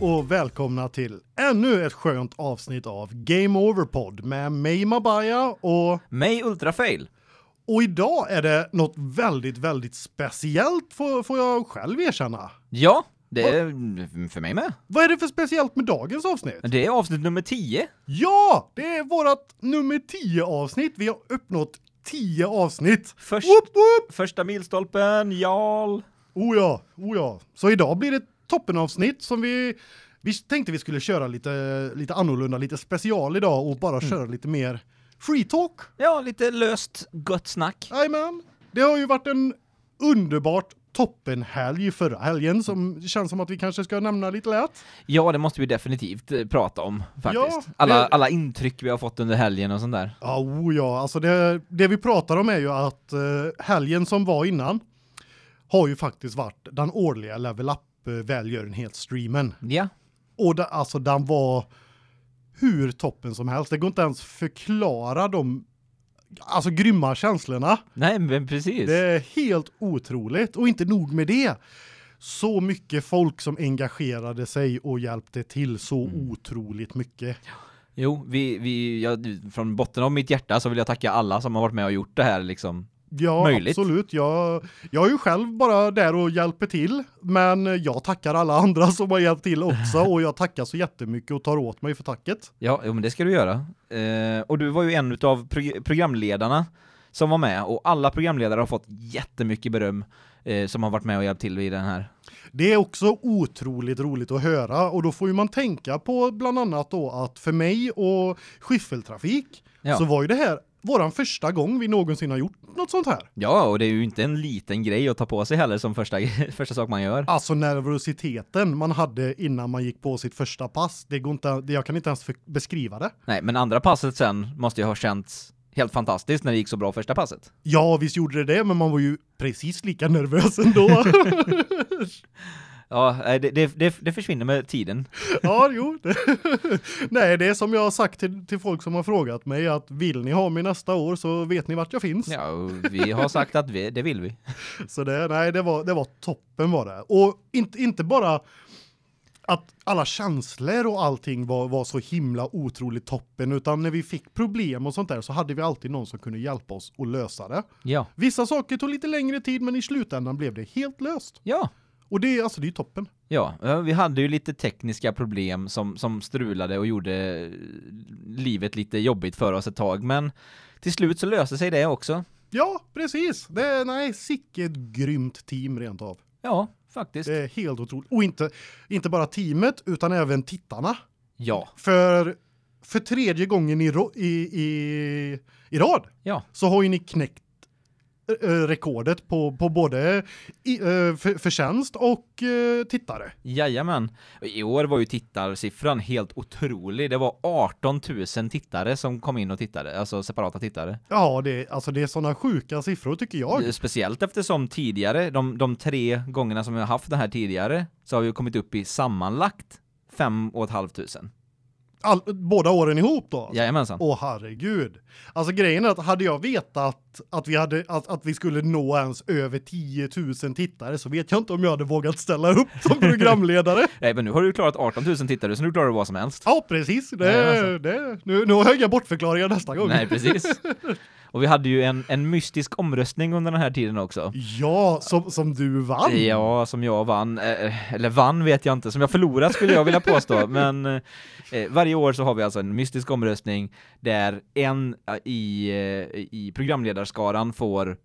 och välkomna till ännu ett skönt avsnitt av Game Over Pod med mig Mabaya och Mig Ultrafail. och idag är det något väldigt väldigt speciellt får, får jag själv erkänna. Ja, det är för mig med. Vad är det för speciellt med dagens avsnitt? Det är avsnitt nummer 10. Ja, det är vårat nummer 10 avsnitt. Vi har uppnått 10 avsnitt. Först, Woop woop. första milstolpen, Jarl. Oh ja, oh ja. Så idag blir det ett toppenavsnitt som vi vi tänkte vi skulle köra lite lite annorlunda, lite special idag och Mm. bara köra lite mer free talk. Ja, lite löst gott snack. Jajamän. Det har ju varit en underbart toppenhelg förra helgen som känns som att vi kanske ska nämna lite lätt. Ja, det måste vi definitivt eh, prata om faktiskt. Ja, alla, det- alla intryck vi har fått under helgen och sånt där. Ja, oh ja, alltså det, det vi pratar om är ju att eh, helgen som var innan har ju faktiskt varit den årliga level up eh, välgörenhetsstreamen. Ja, Och det, alltså den var hur toppen som helst. Det går inte ens förklara de alltså grymma känslorna. nej men precis. Det är helt otroligt och inte nog med det. Så mycket folk som engagerade sig och hjälpte till så Mm. otroligt mycket. Jo, vi, vi, jag, från botten av mitt hjärta så vill jag tacka alla som har varit med och gjort det här liksom. Ja, Möjligt. absolut. Jag jag är ju själv bara där och hjälper till, men jag tackar alla andra som har hjälpt till också och jag tackar så jättemycket och tar åt mig för tacket. Ja, jo, men det ska du göra. Eh, och du var ju en av prog programledarna som var med och alla programledare har fått jättemycket beröm eh, som har varit med och hjälpt till i den här. Det är också otroligt roligt att höra och då får ju man tänka på bland annat då att för mig och skiffeltrafik Ja. så var ju det här våran första gång vi någonsin har gjort något sånt här. Ja, och det är ju inte en liten grej att ta på sig heller som första, första sak man gör. Alltså nervositeten man hade innan man gick på sitt första pass, det går inte, det- jag kan inte ens för- beskriva det. Nej, men andra passet sen måste ju ha känts helt fantastiskt när det gick så bra första passet. Ja, visst gjorde det det, men man var ju precis lika nervös ändå. Ja, nej, det, det, det, det försvinner med tiden. ja, jo. det- Nej, det är som jag har sagt till, till folk som har frågat mig att vill ni ha mig nästa år så vet ni vart jag finns. Ja, och vi har sagt att vi, det vill vi. Så det, nej, det var, det var toppen var det. Och inte, inte bara att alla känslor och allting var, var så himla otroligt toppen, utan när vi fick problem och sånt där så hade vi alltid någon som kunde hjälpa oss att lösa det. Ja. Vissa saker tog lite längre tid, men i slutändan blev det helt löst. Ja. Och det, är- alltså, det är ju toppen. Ja, eh, vi hade ju lite tekniska problem som, som strulade och gjorde eh, livet lite jobbigt för oss ett tag, men till slut så löste sig det också. Ja, precis. Det är, nej, sicket grymt team rent av. Ja, faktiskt. Det är helt otroligt. Och inte, inte bara teamet, utan även tittarna. Ja, För, för tredje gången i, ro- i, i, i rad ja, så har ju ni knäckt eh, rekordet på, på både i, eh, för, förtjänst och eh, tittare. jajamän. I år var ju tittarsiffran helt otrolig. Det var 18 000 tittare som kom in och tittade, alltså separata tittare. Eh, Ja, det, alltså det är sådana sjuka siffror tycker jag. Speciellt eftersom tidigare, de, de tre gångerna som vi har haft det här tidigare, så har vi kommit upp i sammanlagt 5 500. All, båda åren ihop då. Jajamensan. Åh herregud. Alltså grejen är att hade jag vetat att vi hade att att vi skulle nå ens över 10 000 tittare så vet jag inte om jag hade vågat ställa upp som programledare. Nej, men nu har du ju klarat 18 000 tittare, så nu klarar du vad som helst. ja, precis. Det, Nej, alltså. det. Nu nu har jag bortförklaringar nästa gång. Nej, precis. Och vi hade ju en, en mystisk omröstning under den här tiden också. Ja, som som du vann. Ja, som jag vann, eh, eller vann vet jag inte, som jag förlorade skulle jag vilja påstå, men eh, varje år så har vi alltså en mystisk omröstning där en eh, i, eh, i programledarskaran får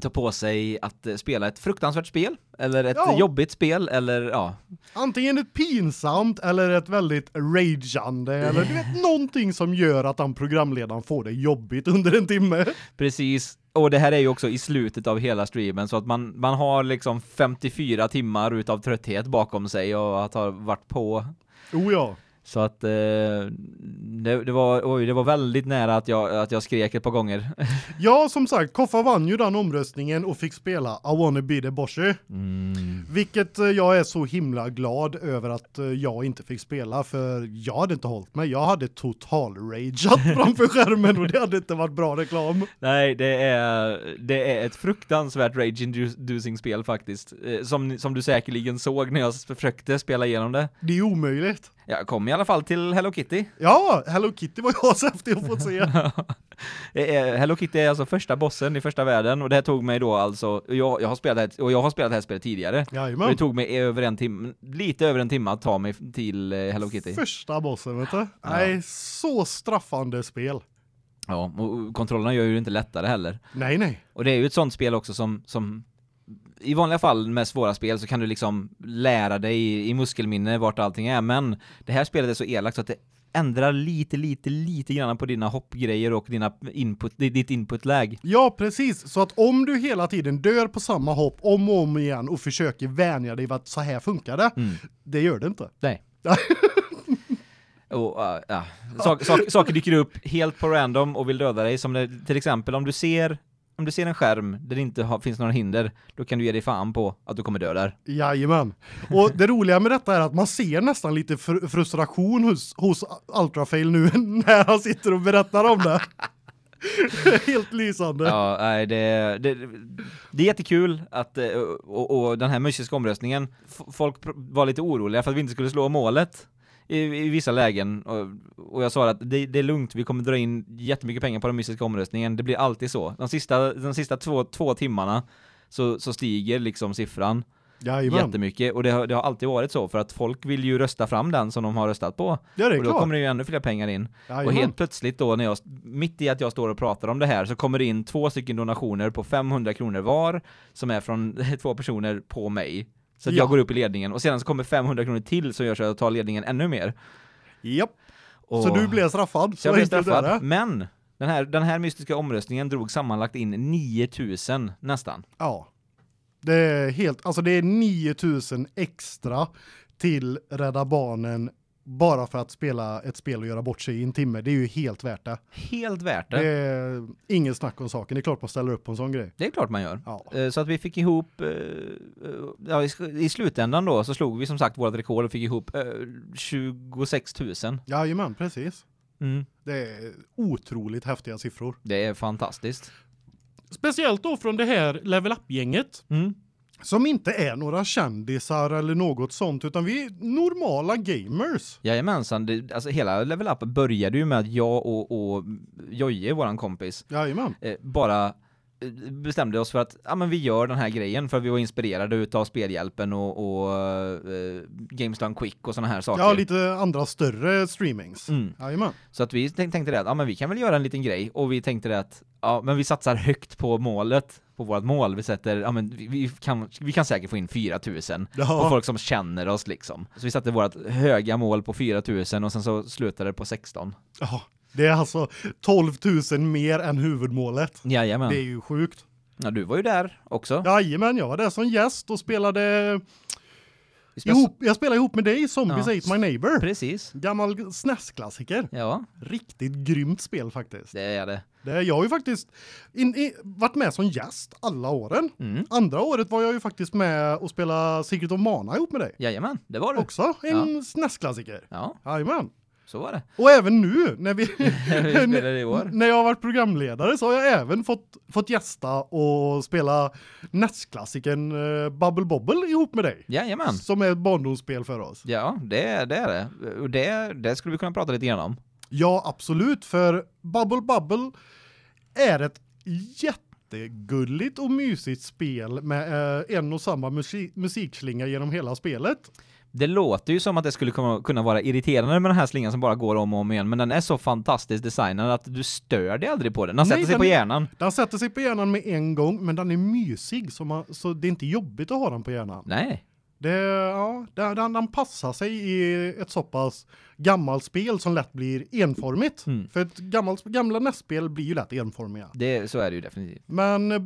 ta på sig att eh, spela ett fruktansvärt spel, eller ett Ja. jobbigt spel, eller ja, Antingen ett pinsamt eller ett väldigt rageande eller du vet någonting som gör att den programledaren får det jobbigt under en timme. Precis. Och det här är ju också i slutet av hela streamen så att man, man har liksom 54 timmar utav trötthet bakom sig och att ha varit på. Oh ja. Så att eh, det, det, var, oj, det var väldigt nära att jag, att jag skrek ett par gånger. Ja, som sagt, Koffa vann ju den omröstningen och fick spela I wanna be the Boshi. Vilket eh, jag är så himla glad över att eh, jag inte fick spela för jag hade inte hållit mig. Jag hade total rageat framför skärmen och det hade inte varit bra reklam. Nej, det är, det är ett fruktansvärt rage-inducing spel faktiskt. Eh, Som, ni- som du säkerligen såg när jag s- försökte spela igenom det. Det är omöjligt. Jag kom i alla fall till Hello Kitty. Ja, Hello Kitty var jag så häftig att få se. Det är- Eh, Hello Kitty är alltså första bossen i första världen och det här tog mig då alltså, jag, jag har spelat det här, och jag har spelat det här spelet tidigare. Och det Jajamän. tog mig över en timme, lite över en timme att ta mig f- till eh, Hello Kitty. Första bossen, vet du? Nej, så straffande spel. Ja, och- och kontrollerna gör ju det inte lättare heller. Nej, nej. Och det är ju ett sånt spel också som, som i vanliga fall med svåra spel så kan du liksom lära dig i, i muskelminne vart allting är, men det här spelet är så elakt så att det ändrar lite, lite, lite grann på dina hoppgrejer och dina input, ditt inputläge. Ja, precis. Så att om du hela tiden dör på samma hopp om och om igen och försöker vänja dig vid att så här funkar det, Mm. det gör det inte. Nej. Och, äh, ja. Sak, sak, saker dyker upp helt på random och vill döda dig, som det, till exempel om du ser om du ser en skärm där det inte har, finns några hinder, då kan du ge dig fan på att du kommer dö där. Jajamän. Och det roliga med detta är att man ser nästan lite fr frustration hos, hos Ultrafail nu när han sitter och berättar om det. Helt lysande. Ja, nej, det, det, det är jättekul att, eh, och, och den här mysiska omröstningen, f- folk pr- var lite oroliga för att vi inte skulle slå målet i, i vissa lägen, och, och jag sa att det, det är lugnt, vi kommer dra in jättemycket pengar på den mysiska omröstningen, det blir alltid så. De sista, de sista två, två timmarna så, så stiger liksom siffran Jajamän. jättemycket, och det har, det har alltid varit så, för att folk vill ju rösta fram den som de har röstat på, Ja, det är och då klart. kommer det ju ännu fler pengar in. Och Jajamän. helt plötsligt då när jag, mitt i att jag står och pratar om det här så kommer det in två stycken donationer på 500 kronor var som är från två personer på mig. Så att Ja. jag går upp i ledningen och sedan så kommer 500 kronor till som gör så att jag tar ledningen ännu mer. Japp. Och Så du blev straffad. så jag blev enkelt är straffad. det. Men den här, den här mystiska omröstningen drog sammanlagt in 9000 nästan. Ja. Det är helt, alltså det är 9000 extra till Rädda Barnen bara för att spela ett spel och göra bort sig i en timme. Det är ju helt värt det. Helt värt det. Det Det, är ingen snack om saken. Det är klart man ställer upp på en sån grej. är klart man gör. Ja. Eh, Så att vi fick ihop, eh, eh, ja, i sk- i slutändan då så slog vi som sagt vårt rekord och fick ihop eh, 26 000. Jajamän, precis. Mm. Det är otroligt häftiga siffror. Det är fantastiskt. Speciellt då från det här level up-gänget Mm. som inte är några kändisar eller något sånt utan vi är normala gamers. Jajamensan, det, alltså hela Level Up började ju med att jag och, och Joje, våran kompis, Jajamän. eh, bara eh, bestämde oss för att ja, men vi gör den här grejen för att vi var inspirerade utav spelhjälpen och, och eh, Games Done Quick och sådana här saker. Ja, lite andra större streamings. Mm. Jajamän. Så att vi tänk- tänkte det att ja, men vi kan väl göra en liten grej och vi tänkte det att ja, men vi satsar högt på målet, på vårt mål. Vi sätter, ja men vi, vi, kan, vi kan säkert få in 4000 på Ja, folk som känner oss liksom. Så vi satte vårt höga mål på 4000 och sen så slutade det på 16. ja. Det är alltså 12 000 mer än huvudmålet. Jajamän. Det är ju sjukt. Ja, du var ju där också. Jajamän, jag var där som gäst och spelade Vi spelade- ihop, jag spelade ihop med dig, Zombies Ja. Ate My Neighbor. Precis. Gammal SNES-klassiker. Ja, Riktigt grymt spel faktiskt. det är det. Det, jag har ju faktiskt in, i, varit med som gäst alla åren. Mm. Andra året var jag ju faktiskt med och spela Secret of Mana ihop med dig. Jajamän, det var du. Också en SNES-klassiker. Ja, Jajamän. så var det. Och även nu när vi Vi spelade i år. när jag har varit programledare så har jag även fått fått gästa och spela NES-klassikern eh, Bubble Bobble ihop med dig. Jajamän. Som är ett barndomsspel för oss. Ja, det, det är det. Och det, det skulle vi kunna prata lite grann om. Ja, absolut. För Bubble Bubble är ett jättegulligt och mysigt spel med eh, en och samma musi musikslinga genom hela spelet. Det låter ju som att det skulle komma- kunna vara irriterande med den här slingan som bara går om och om igen, men den är så fantastiskt designad att du stör dig aldrig på den. Nej, Den sätter sig den- på hjärnan. Den sätter sig på hjärnan med en gång, men den är mysig så, man, så det är inte jobbigt att ha den på hjärnan. Nej. Det, ja, den, den, den passar sig i ett så pass gammalt spel som lätt blir enformigt. Mm. För ett gammalt, gamla nästspel blir ju lätt enformiga. Det, så är det ju definitivt. Men eh,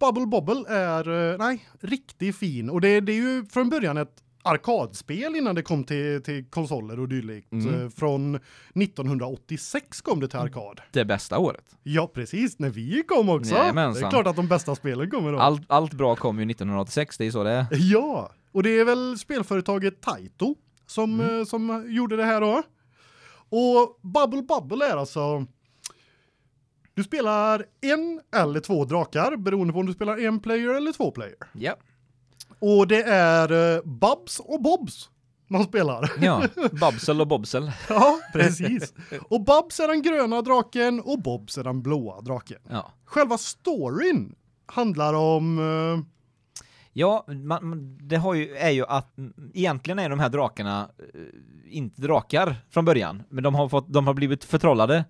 Bubble Bobble är, eh, nej, riktigt fin. Och det, det är ju från början ett arkadspel innan det kom till, till konsoler och dylikt. Mm. Eh, Från 1986 kom det till arkad. Det bästa året. Ja, precis. När vi kom också. Jajamensan. Det är klart att de bästa spelen kommer då. Allt, allt bra kom ju 1986, det är ju så det är. Ja, och det är väl spelföretaget Taito som, Mm. eh, som gjorde det här då. Och Bubble Bubble är alltså... Du spelar en eller två drakar beroende på om du spelar en player eller två player. Ja. Och det är eh, Bubs och Bobs man spelar. Ja, Babsel och Bobsel. Ja, precis. Och Bubs är den gröna draken och Bobs är den blåa draken. Ja. Själva storyn handlar om... eh, Ja, man, man- det har ju, är ju att mm, egentligen är de här drakarna eh, inte drakar från början, men de har, fått, de har blivit förtrollade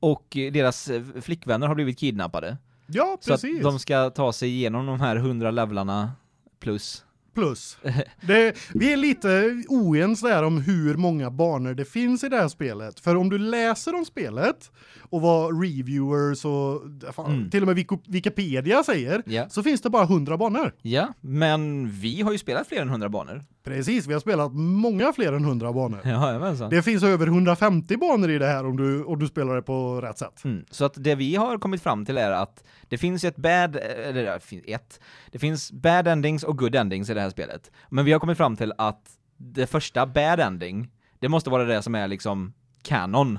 och eh, deras eh, flickvänner har blivit kidnappade. ja, Så att precis. de ska ta sig igenom de här 100 levlarna plus. plus. Det, vi är lite oense där om hur många banor det finns i det här spelet. För om du läser om spelet och vad reviewers och fan, Mm. till och med Wiki- Wikipedia säger Ja. så finns det bara 100 banor. ja, men vi har ju spelat fler än 100 banor. Precis, vi har spelat många fler än 100 banor. Jajamensan. Det finns över 150 banor i det här om du, om du spelar det på rätt sätt. Mm. Så att det vi har kommit fram till är att det finns ju ett bad, eller det finns ett, det finns bad endings och good endings i det här spelet. Men vi har kommit fram till att det första bad ending, det måste vara det som är liksom canon.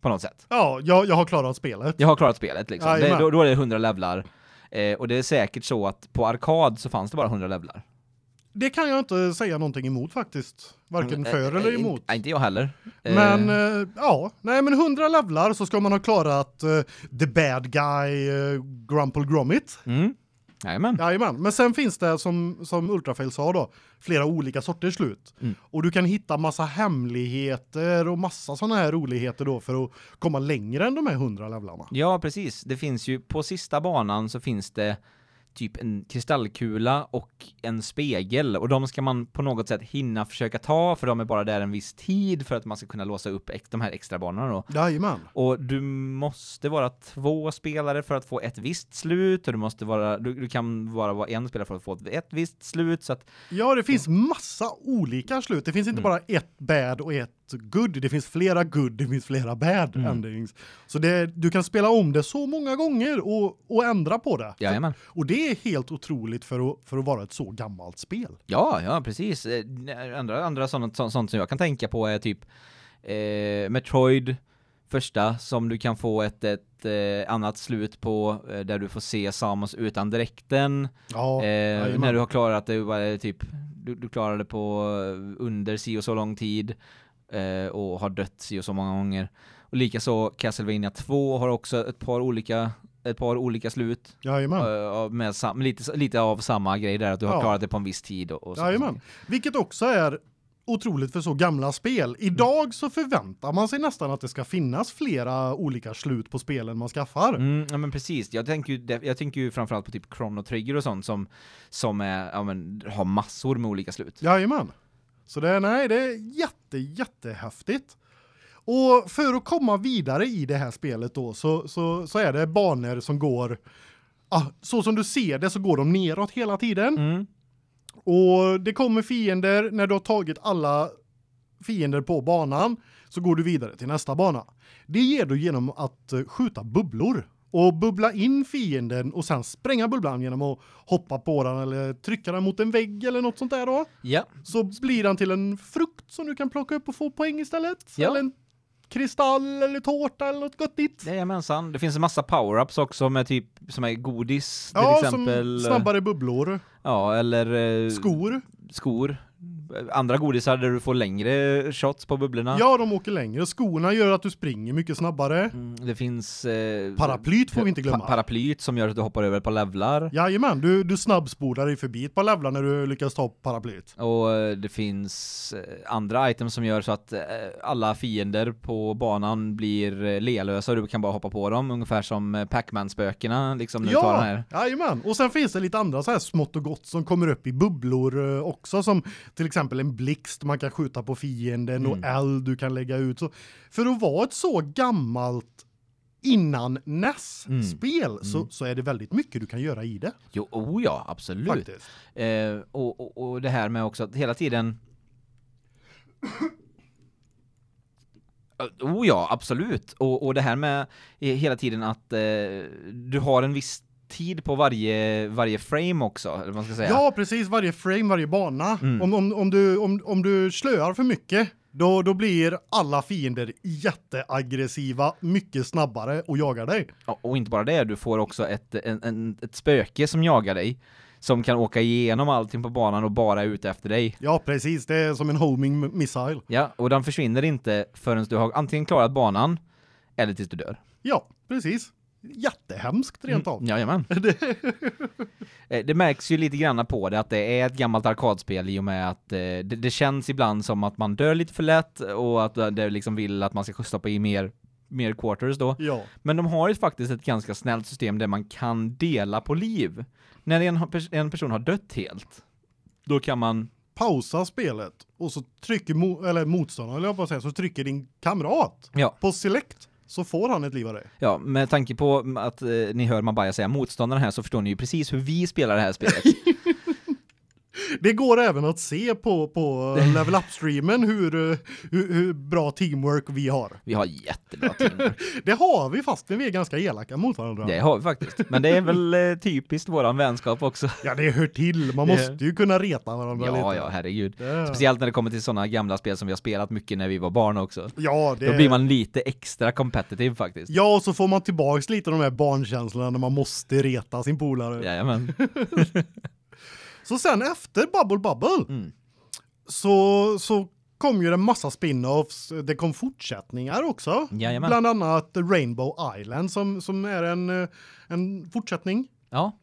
På något sätt. Ja, jag, jag har klarat spelet. Jag har klarat spelet liksom. Det, Jajamän. då, då är det 100 levlar. Eh, och det är säkert så att på arkad så fanns det bara 100 levlar. Det kan jag inte säga någonting emot faktiskt. Varken Eh, för eh, eller inte- emot. eh, Inte jag heller. Eh, Men eh, ja, nej men 100 levlar så ska man ha klarat eh, The Bad Guy eh, Grumple Gromit. Mm. Jajamän. Jajamän, men sen finns det som, som Ultrafail sa då, flera olika sorters slut. Mm. Och du kan hitta massa hemligheter och massa sådana här roligheter då för att komma längre än de här 100 levlarna. Ja, precis. Det finns ju på sista banan så finns det typ en kristallkula och en spegel och de ska man på något sätt hinna försöka ta för de är bara där en viss tid för att man ska kunna låsa upp ex- de här extra banorna då. Jajamän. Och du måste vara två spelare för att få ett visst slut och du måste vara du, du kan bara vara en spelare för att få ett- ett visst slut så att Ja, det finns massa olika slut. Det finns Mm. inte bara ett bad och ett good. Det finns flera good, det finns flera bad Mm. endings. Så det, du kan spela om det så många gånger och, och ändra på det. Jajamän. Och det är helt otroligt för att, för att vara ett så gammalt spel. Ja, ja, precis. Eh, n- Andra, andra sånt, sånt, sånt som jag kan tänka på är typ eh, Metroid, första, som du kan få ett, ett eh, annat slut på, eh, där du får se Samus utan dräkten. Ja, eh, jajamän. när du har klarat det, vad är det typ, du, du klarar det på eh, under si och så lång tid eh, och har dött si och så många gånger. Och likaså Castlevania 2 har också ett par olika, ett par olika slut. jajamän. eh, Med sam, lite, lite av samma grej där, att du har Ja. klarat det på en viss tid och, och så. Jajamän. Vilket också är otroligt för så gamla spel. Idag så förväntar man sig nästan att det ska finnas flera olika slut på spelen man skaffar. Mm, ja men precis. Jag tänker ju def- jag tänker ju framförallt på typ Chrono Trigger och sånt som som är ja men har massor med olika slut. Jajamän. Så det, nej, det är jätte, jättehäftigt. Och för att komma vidare i det här spelet då så, så, så är det banor som går, ah, så som du ser det så går de neråt hela tiden. Mm. Och det kommer fiender när du har tagit alla fiender på banan så går du vidare till nästa bana. Det ger du genom att eh, skjuta bubblor och bubbla in fienden och sen spränga bubblan genom att hoppa på den eller trycka den mot en vägg eller något sånt där då Ja. så blir han till en frukt som du kan plocka upp och få poäng istället. Ja. Eller en kristall eller tårta eller något gottigt. Jajamensan. Det finns en massa power-ups också med typ som är godis till Ja, exempel. eh, som snabbare bubblor, Ja, eller eh, skor. skor. Eh, Andra godisar där du får längre shots på bubblorna. Ja, de åker längre. Skorna gör att du springer mycket snabbare. Mm, Det finns eh, Paraplyt får vi inte glömma. Pa paraplyt som gör att du hoppar över på levlar. Jajamän, du, du snabbspolar dig förbi ett par levlar när du lyckas ta paraplyet. Och eh, det finns eh, andra items som gör så att eh, alla fiender på banan blir eh, lealösa och du kan bara hoppa på dem, ungefär som eh, Pac-Man-spökena liksom när du tar den Ja, här. jajamän. Och sen finns det lite andra så här smått och gott som kommer upp i bubblor eh, också som till exempel en blixt man kan skjuta Mm. på fienden och eld du kan lägga ut. Så för att vara ett så gammalt innan NES-spel så, Mm. så är det väldigt mycket du kan göra i det. Jo, oh ja, absolut. Faktiskt. Eh, och, och, och det här med också att hela tiden... Eh, Oh ja, absolut. Och, och det här med eh, hela tiden att eh, du har en viss tid på varje, varje frame också, eller vad man ska säga. Ja, precis. Varje frame, varje bana. Mm. Om, om, om, du, om, om du slöar för mycket, då, då blir alla fiender jätteaggressiva, mycket snabbare och jagar dig. Ja, Och inte bara det, du får också ett, en, en, ett spöke som jagar dig. Som kan åka igenom allting på banan och bara är ute efter dig. Ja, precis. Det är som en homing m- missile. Ja, och den försvinner inte förrän du har antingen klarat banan, eller tills du dör. Ja, precis. Jättehemskt rent av. Mm, jajamän. Eh, det märks ju lite grann på det att det är ett gammalt arkadspel i och med att eh, det, det känns ibland som att man dör lite för lätt och att det liksom vill att man ska stoppa i mer, mer quarters då. Ja, Men de har ju faktiskt ett ganska snällt system där man kan dela på liv. När en, ha- pers- en person har dött helt, då kan man... pausa spelet och så trycker mo eller motståndaren, eller jag på att säga, så trycker din kamrat Ja. på select så får han ett liv av dig. Ja, med tanke på att eh, ni hör Mabaya säga motståndaren här så förstår ni ju precis hur vi spelar det här spelet. Det går även att se på, på level up-streamen hur, eh, hur, hur bra teamwork vi har. Vi har jättebra team. Det har vi fast men vi är ganska elaka mot varandra. Det har vi faktiskt. Men det är väl eh, typiskt våran vänskap också. Ja, det hör till. Man Det- måste ju kunna reta varandra Ja, lite. ja, herregud. Det- Speciellt när det kommer till sådana gamla spel som vi har spelat mycket när vi var barn också. Ja, det... Då blir man lite extra competitive faktiskt. Ja, och så får man tillbaks lite av de här barnkänslorna när man måste reta sin polare. Jajamän. Så sen efter Bubble Bubble Mm. så, så kom ju det en massa spin-offs. Det kom fortsättningar också. Jajamän. Bland annat Rainbow Island som, som är en, eh, en fortsättning. Ja,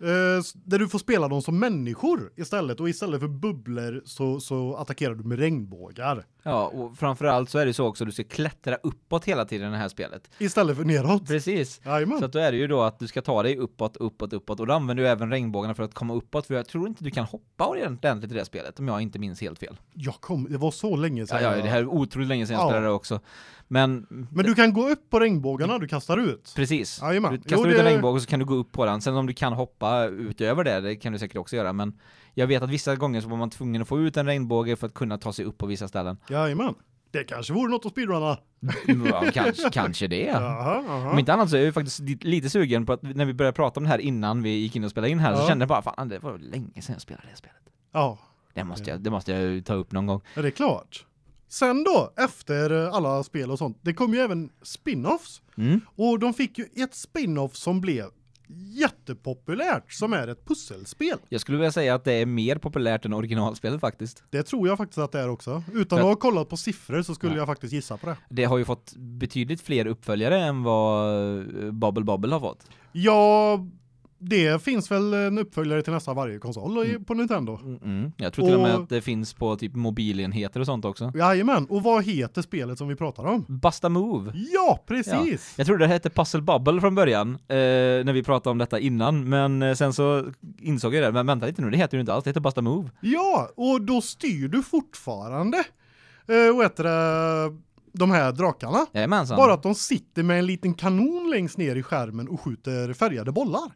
Eh, s- där du får spela dem som människor istället. Och istället för bubblor så, så attackerar du med regnbågar. ja och framförallt så är det så också att du ska klättra uppåt hela tiden i det här spelet. Istället för neråt. Precis. Jajamän. Så att då är det ju då att du ska ta dig uppåt, uppåt, uppåt och då använder du även regnbågarna för att komma uppåt för jag tror inte du kan hoppa ordentligt i det här spelet om jag inte minns helt fel. Jag kom, det var så länge Ja, sedan. ja, jag- det här är otroligt länge sedan jag Ja. spelade det också. Men Men du kan gå upp på regnbågarna du kastar ut. Precis. Jajamän. Du kastar Jo, ut en det- regnbåge och så kan du gå upp på den. Sen om du kan hoppa utöver det, det kan du säkert också göra, men jag vet att vissa gånger så var man tvungen att få ut en regnbåge för att kunna ta sig upp på vissa ställen. Jajamän. Det kanske vore något att speedrunna. Ja, kanske, kanske det. Aha, aha. Om inte annat så är jag ju faktiskt li- lite sugen på att när vi började prata om det här innan vi gick in och spelade in här så Ja. kände jag bara fan det var länge sedan jag spelade det här spelet. Ja, Det måste jag, det måste jag ju ta upp någon gång. det är klart. Sen då, efter alla spel och sånt, det kom ju även spin-offs. Mm. Och de fick ju ett spin-off som blev jättepopulärt, som är ett pusselspel. Jag skulle vilja säga att det är mer populärt än originalspelet faktiskt. Det tror jag faktiskt att det är också. Utan För- att ha kollat på siffror så skulle Nej. jag faktiskt gissa på det. Det har ju fått betydligt fler uppföljare än vad eh, Bubble Bubble har fått. Ja, det finns väl en uppföljare till nästan varje konsol och i- på Nintendo. Mm. Jag tror till och med Och- att det finns på typ mobilenheter och sånt också. Jajamän, och vad heter spelet som vi pratar om? Basta Move. Ja, precis! Jag trodde det hette Puzzle Bubble från början, eh, när vi pratade om detta innan, men eh, sen så insåg jag det, men vänta lite nu, det heter ju inte alls, det heter Basta Move. Ja, och då styr du fortfarande eh, vad heter det, de här drakarna. Jajamensan. Bara att de sitter med en liten kanon längst ner i skärmen och skjuter färgade bollar.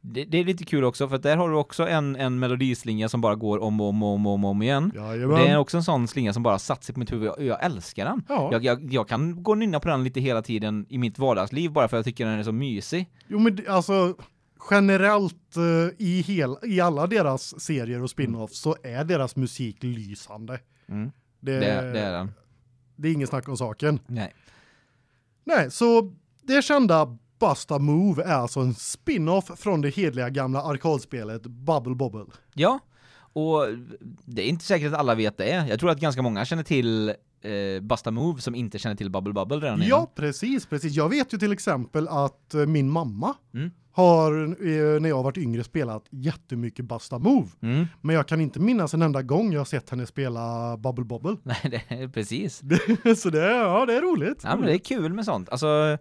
Det, det är lite kul också, för att där har du också en, en melodislinga som bara går om och om och om, och om, och om igen. Jajamän. Det är också en sån slinga som bara satt sig på mitt huvud, jag, jag älskar den. Ja. Jag, jag, jag kan gå och nynna på den lite hela tiden i mitt vardagsliv, bara för att jag tycker den är så mysig. Jo, men det- alltså generellt eh, i, hel, i alla deras serier och spin-offs så är deras musik lysande. Mm. Det, Det, det är den. det är ingen snack om saken. Nej. Nej, så det kända Basta Move är alltså en spin-off från det hedliga gamla arkadspelet Bubble Bobble. Ja, och det är inte säkert att alla vet det. Jag tror att ganska många känner till eh, Basta Move som inte känner till Bubble Bubble redan innan. Ja, precis, precis. Jag vet ju till exempel att eh, min mamma Mm. har eh, när jag har varit yngre spelat jättemycket Basta Move, Mm. men jag kan inte minnas en enda gång jag har sett henne spela Bubble Bobble. Nej, det är precis. Så det är- ja, det är roligt. Ja, men det är kul med sånt. Alltså,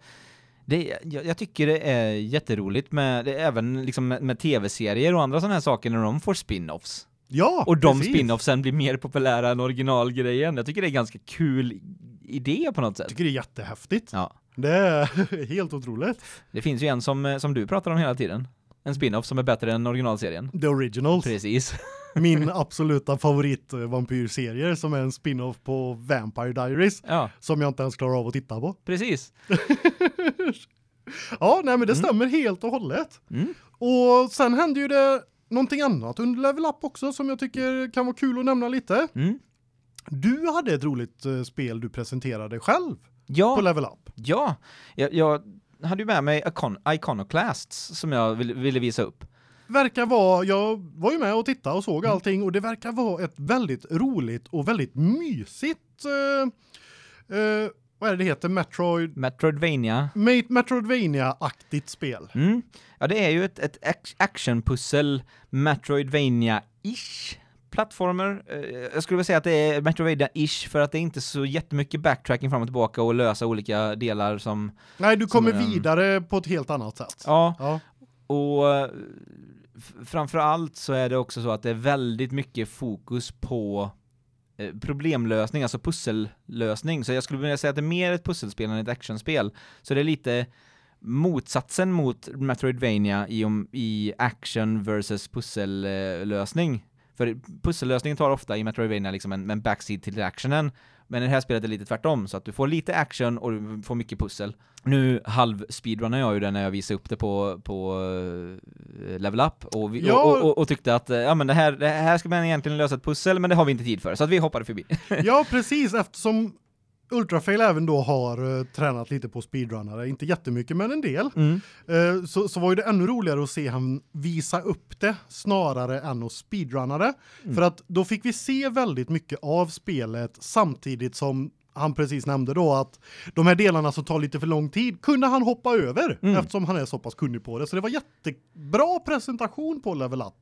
det, jag, jag tycker det är jätteroligt med, det, även liksom med, med tv-serier och andra sådana här saker när de får spin-offs. Ja, Och de precis. spin-offsen blir mer populära än originalgrejen. Jag tycker det är ganska kul i- idé på något sätt. tycker det är jättehäftigt. Ja. Det är helt otroligt. Det finns ju en som, eh, som du pratar om hela tiden. En spin-off som är bättre än originalserien. The Originals, Precis. min absoluta favorit eh, vampyrserie som är en spin-off på Vampire Diaries Ja, som jag inte ens klarar av att titta på. precis. Ja, nej men det stämmer helt och hållet. Mm. Och sen hände ju det någonting annat under Level Up också som jag tycker kan vara kul att nämna lite. Mm. Du hade ett roligt eh, spel du presenterade själv Ja. på Level Up. Ja, jag, jag hade ju med mig Icon- Iconoclasts som jag ville, ville visa upp. Verkar vara, jag var ju med och tittade och Mm. såg allting och det verkar vara ett väldigt roligt och väldigt mysigt eh, eh, vad är det det heter? Metroid Metroidvania. Ma- Metroidvania-aktigt spel. Mm. Ja, det är ju ett, ett ac- actionpussel, Metroidvania-ish plattformer. Eh, Jag skulle vilja säga att det är Metroidvania-ish för att det är inte så jättemycket backtracking fram och tillbaka och lösa olika delar som... Nej, du kommer Som, ehm, vidare på ett helt annat sätt. Ja, Ja. och eh, f- framförallt så är det också så att det är väldigt mycket fokus på eh, problemlösning, alltså pussellösning. Så jag skulle vilja säga att det är mer ett pusselspel än ett actionspel. Så det är lite motsatsen mot Metroidvania i, om, i action versus pussellösning. För pussellösningen tar ofta i Metroidvania liksom en, en backseat till actionen. Men i det här spelet är det lite tvärtom, så att du får lite action och du får mycket pussel. Nu halv-speedrunnar jag ju den när jag visade upp det på, på eh, Level Up och, vi, Ja. och, och, och, och tyckte att eh, ja, men det, här, det här ska man egentligen lösa ett pussel, men det har vi inte tid för, så att vi hoppade förbi. Ja, precis eftersom Ultrafail även då har eh, tränat lite på speedrunnare, inte jättemycket men en del. Mm. Eh, så så var ju det ännu roligare att se han visa upp det snarare än att speedrunna det Mm. för att då fick vi se väldigt mycket av spelet samtidigt som han precis nämnde då att de här delarna som tar lite för lång tid kunde han hoppa över Mm. eftersom han är så pass kunnig på det så det var jättebra presentation på Level Up.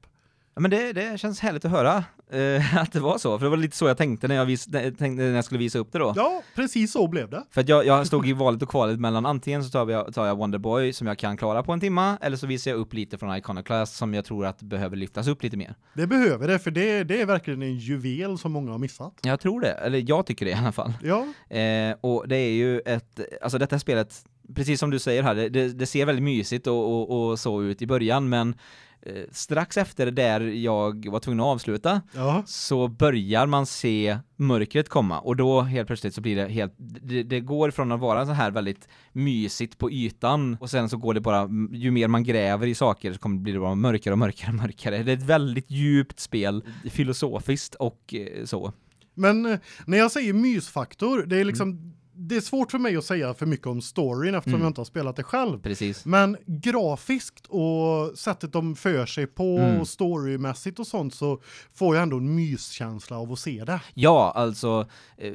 Ja, men det, det känns härligt att höra eh, att det var så, för det var lite så jag tänkte när jag, vis, när jag tänkte när jag skulle visa upp det då. Ja, precis så blev det. För att jag, jag stod i valet och kvalet mellan antingen så tar jag, tar jag Wonderboy som jag kan klara på en timma, eller så visar jag upp lite från Iconoclast som jag tror att behöver lyftas upp lite mer. Det behöver det för det det är verkligen en juvel som många har missat. Jag tror det, eller jag tycker det i alla fall. Ja, Eh, och det är ju ett, alltså detta spelet, precis som du säger här, det, det, det ser väldigt mysigt och, och, och så ut i början, men eh, strax efter där jag var tvungen att avsluta, ja. så börjar man se mörkret komma och då helt plötsligt så blir det helt, det, det går från att vara så här väldigt mysigt på ytan och sen så går det bara, ju mer man gräver i saker så kommer det bli bara mörkare och mörkare och mörkare. Det är ett väldigt djupt spel, filosofiskt och eh, så. Men eh, när jag säger mysfaktor, det är liksom det är svårt för mig att säga för mycket om storyn eftersom Mm. jag inte har spelat det själv. Precis. Men grafiskt och sättet de för sig på Mm. och storymässigt och sånt så får jag ändå en myskänsla av att se det. Ja, alltså eh,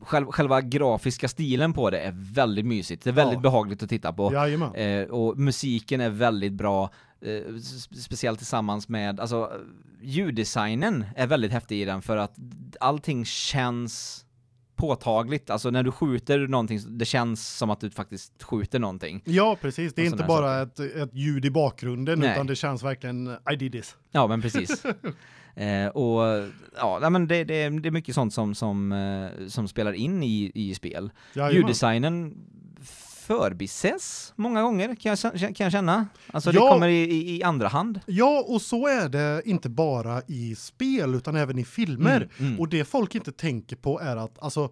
själv, själva grafiska stilen på det är väldigt mysigt. Det är väldigt Ja. behagligt att titta på. Jajamän. Eh, och musiken är väldigt bra, eh, s- speciellt tillsammans med, alltså eh, ljuddesignen är väldigt häftig i den för att allting känns påtagligt, alltså när du skjuter någonting, så- det känns som att du faktiskt skjuter någonting. Ja, precis. Det är och inte såna bara ett, ett ljud i bakgrunden Nej. utan det känns verkligen I did this. Ja, men precis. Eh, och ja, nej, men det, det, det är mycket sånt som, som, eh, som spelar in i, i spel. Jajamän. Ljuddesignen förbises många gånger kan jag, kän- kan jag känna. Alltså det Ja. kommer i, i, i andra hand. Ja, och så är det inte bara i spel utan även i filmer. Mm, mm. Och det folk inte tänker på är att alltså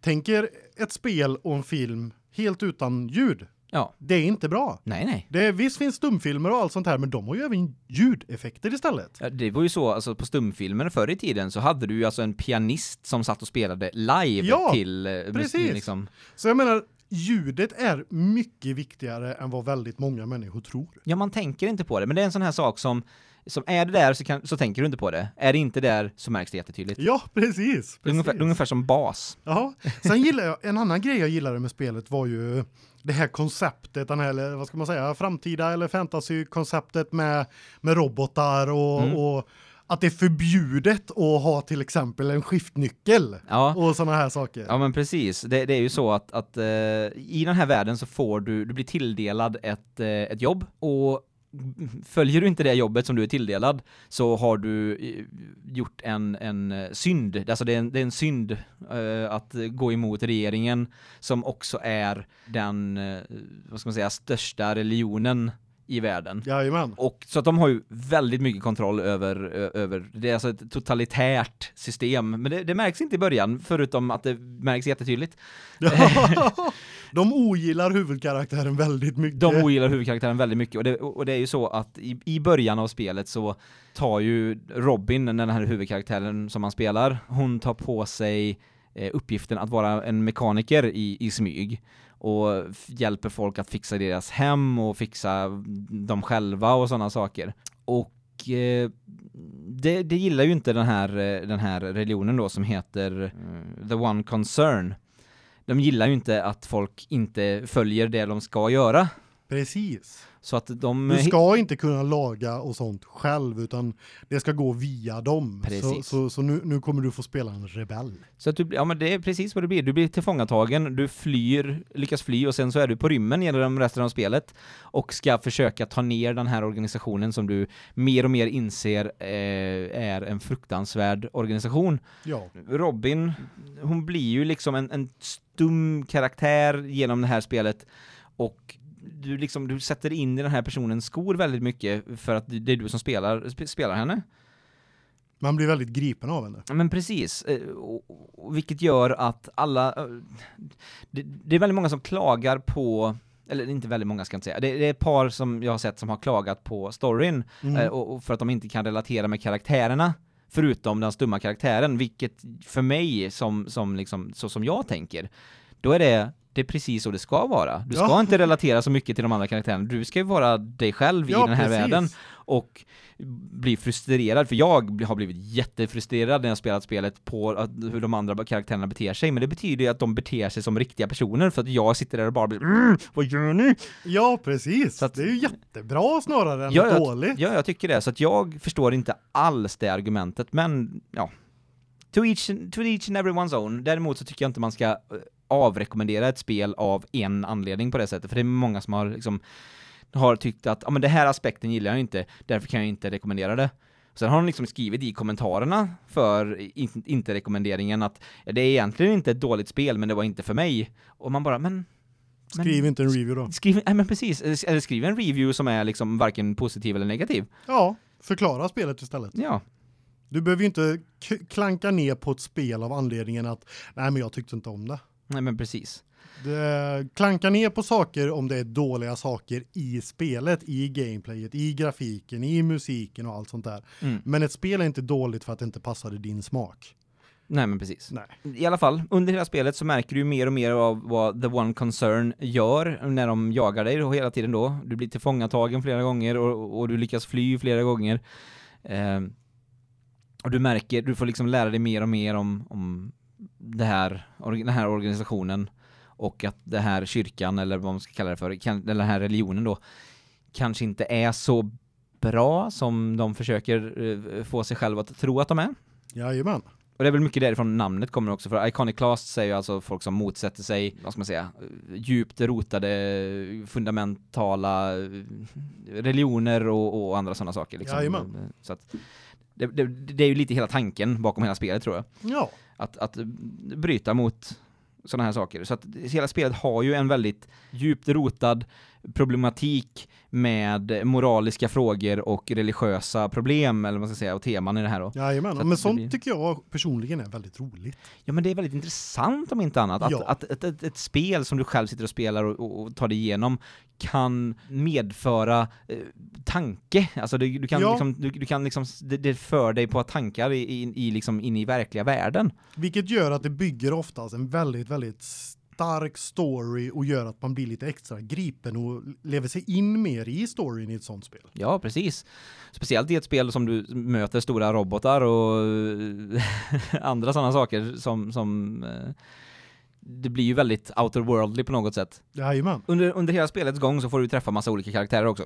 tänker ett spel och en film helt utan ljud. Ja. Det är inte bra. Nej, nej. Det är, visst finns stumfilmer och allt sånt här, men de har ju även ljudeffekter istället. Ja, det var ju så, alltså på stumfilmer förr i tiden så hade du ju alltså en pianist som satt och spelade live Ja, till eh, mus- precis. liksom. Så jag menar, ljudet är mycket viktigare än vad väldigt många människor tror. Ja, man tänker inte på det, men det är en sån här sak som, som är det där så, kan, så tänker du inte på det. Är det inte där så märks det jättetydligt. Ja, precis. precis. Ungefär, ungefär som bas. Ja, sen gillar jag en annan grej jag gillade med spelet var ju det här konceptet, den här eller vad ska man säga, framtida eller fantasy konceptet med med robotar och Mm. och att det är förbjudet att ha till exempel en skiftnyckel Ja. och såna här saker. Ja men precis, det, det är ju så att, att eh, i den här världen så får du, du blir tilldelad ett, eh, ett jobb och följer du inte det jobbet som du är tilldelad så har du eh, gjort en, en eh, synd. Alltså det är en, det är en synd eh, att gå emot regeringen som också är den, eh, vad ska man säga, största religionen i världen. Jajamän. Och så att de har ju väldigt mycket kontroll över, ö- över det är alltså ett totalitärt system. Men det, det märks inte i början, förutom att det märks jättetydligt. de ogillar huvudkaraktären väldigt mycket. De ogillar huvudkaraktären väldigt mycket och det, och det är ju så att i, i början av spelet så tar ju Robin, den här huvudkaraktären som han spelar, hon tar på sig eh, uppgiften att vara en mekaniker i, i smyg och f- hjälper folk att fixa deras hem och fixa dem själva och sådana saker. Och eh, det, det gillar ju inte den här, eh, den här religionen då som heter eh, The One Concern. De gillar ju inte att folk inte följer det de ska göra. Precis. Så att de... Du ska inte kunna laga och sånt själv utan det ska gå via dem. Så, Precis. så, så nu, nu kommer du få spela en rebell. Så att du, ja men det är precis vad det blir. Du blir tillfångatagen, du flyr, lyckas fly och sen så är du på rymmen genom resten av spelet och ska försöka ta ner den här organisationen som du mer och mer inser eh, är en fruktansvärd organisation. Ja, Robin, hon blir ju liksom en, en stum karaktär genom det här spelet och du liksom, du sätter in i den här personens skor väldigt mycket för att det är du som spelar, sp- spelar henne. man blir väldigt gripen av henne. Ja, Men precis, Eh, och- och- och vilket gör att alla, eh, det, det är väldigt många som klagar på, eller inte väldigt många ska jag inte säga, det, det är ett par som jag har sett som har klagat på storyn, Mm. eh, och, och för att de inte kan relatera med karaktärerna, förutom den stumma karaktären, vilket för mig, som, som liksom, så som jag tänker, då är det det är precis så det ska vara. Du ska Ja. inte relatera så mycket till de andra karaktärerna. Du ska ju vara dig själv i den här världen och blir frustrerad, för jag har blivit jättefrustrerad när jag spelat spelet på att, hur de andra karaktärerna beter sig, men det betyder ju att de beter sig som riktiga personer för att jag sitter där och bara blir mm, vad gör ni? Ja, precis. Så att- det är ju jättebra snarare än Ja, jag- dåligt. Ja, jag tycker det, så att jag förstår inte alls det argumentet, men ja. To each, to each and everyone's own. Däremot så tycker jag inte man ska eh, avrekommendera ett spel av en anledning på det sättet, för det är många som har liksom har tyckt att ja men den här aspekten gillar jag inte, därför kan jag inte rekommendera det. Sen har de liksom skrivit i kommentarerna för in, inte rekommenderingen att ja, det är egentligen inte ett dåligt spel, men det var inte för mig. Och man bara, men... men- Skriv inte en review då. Skriv, nej men precis, eller eller skriv en review som är liksom varken positiv eller negativ. Ja, förklara spelet istället. Ja, Du behöver ju inte k- klanka ner på ett spel av anledningen att nej men jag tyckte inte om det. nej men precis. det. Klanka ner på saker om det är dåliga saker i spelet, i gameplayet, i grafiken, i musiken och allt sånt där. Mm. Men ett spel är inte dåligt för att det inte passade din smak. Nej men precis. Nej. I alla fall, under hela spelet så märker du ju mer och mer av vad The One Concern gör när de jagar dig då, hela tiden då. Du blir tillfångatagen flera gånger och, och du lyckas fly flera gånger. Ehm, och du märker, du får liksom lära dig mer och mer om, om det här, or, den här organisationen och att det här kyrkan, eller vad man ska kalla det för, kan, eller den här religionen då, kanske inte är så bra som de försöker eh, få sig själva att tro att de är. Jajamän. Och det är väl mycket därifrån namnet kommer också, för Iconiclast säger ju alltså folk som motsätter sig, vad ska man säga, djupt rotade fundamentala eh, religioner och, och andra sådana saker. Liksom. Jajamän. Så att, det, det, det är ju lite hela tanken bakom hela spelet tror jag, Ja, att, att bryta mot sådana här saker. Så att hela spelet har ju en väldigt djupt rotad problematik med moraliska frågor och religiösa problem, eller vad man ska säga, och teman i det här då. jajamän. Så att Men det blir- sånt tycker jag personligen är väldigt roligt. Ja men det är väldigt intressant om inte annat, att, Ja. att, ett- ett- ett spel som du själv sitter och spelar och, och, och tar dig igenom kan medföra eh, tanke, alltså du, du kan Ja. liksom, du, du kan liksom, s- det, det för dig på tankar i, i, i liksom in i verkliga världen. Vilket gör att det bygger oftast en väldigt, väldigt stark story och gör att man blir lite extra gripen och lever sig in mer i storyn i ett sånt spel. Ja, precis. Speciellt i ett spel som du möter stora robotar och andra sådana saker som, som eh, det blir ju väldigt outer worldly på något sätt. Jajamän. Under, under hela spelets gång så får du träffa massa olika karaktärer också.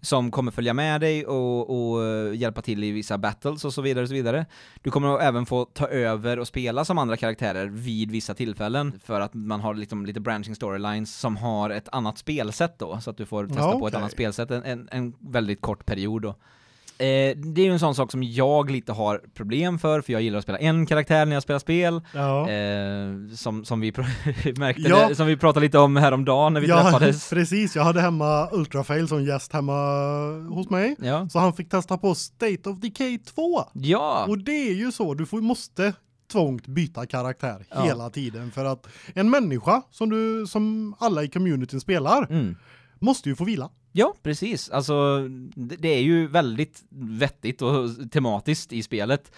som kommer följa med dig och, och eh, hjälpa till i vissa battles och så vidare och så vidare. Du kommer att även få ta över och spela som andra karaktärer vid vissa tillfällen för att man har liksom lite branching storylines som har ett annat spelsätt då, så att du får testa Ja, på ett okej. annat spelsätt en, en, en väldigt kort period då. Eh, det är ju en sån sak som jag lite har problem för, för jag gillar att spela en karaktär när jag spelar spel. Ja. Eh, som, som vi pr- märkte, Ja. som vi pratade lite om häromdagen när vi ja, träffades. precis. Jag hade hemma Ultrafail som gäst hemma hos mig. Ja. Så han fick testa på State of Decay 2. Ja, Och det är ju så, du får, måste tvångt byta karaktär Ja. hela tiden för att en människa som du som alla i communityn spelar mm. måste ju få vila. ja precis. Alltså, det, det är ju väldigt vettigt och tematiskt i spelet.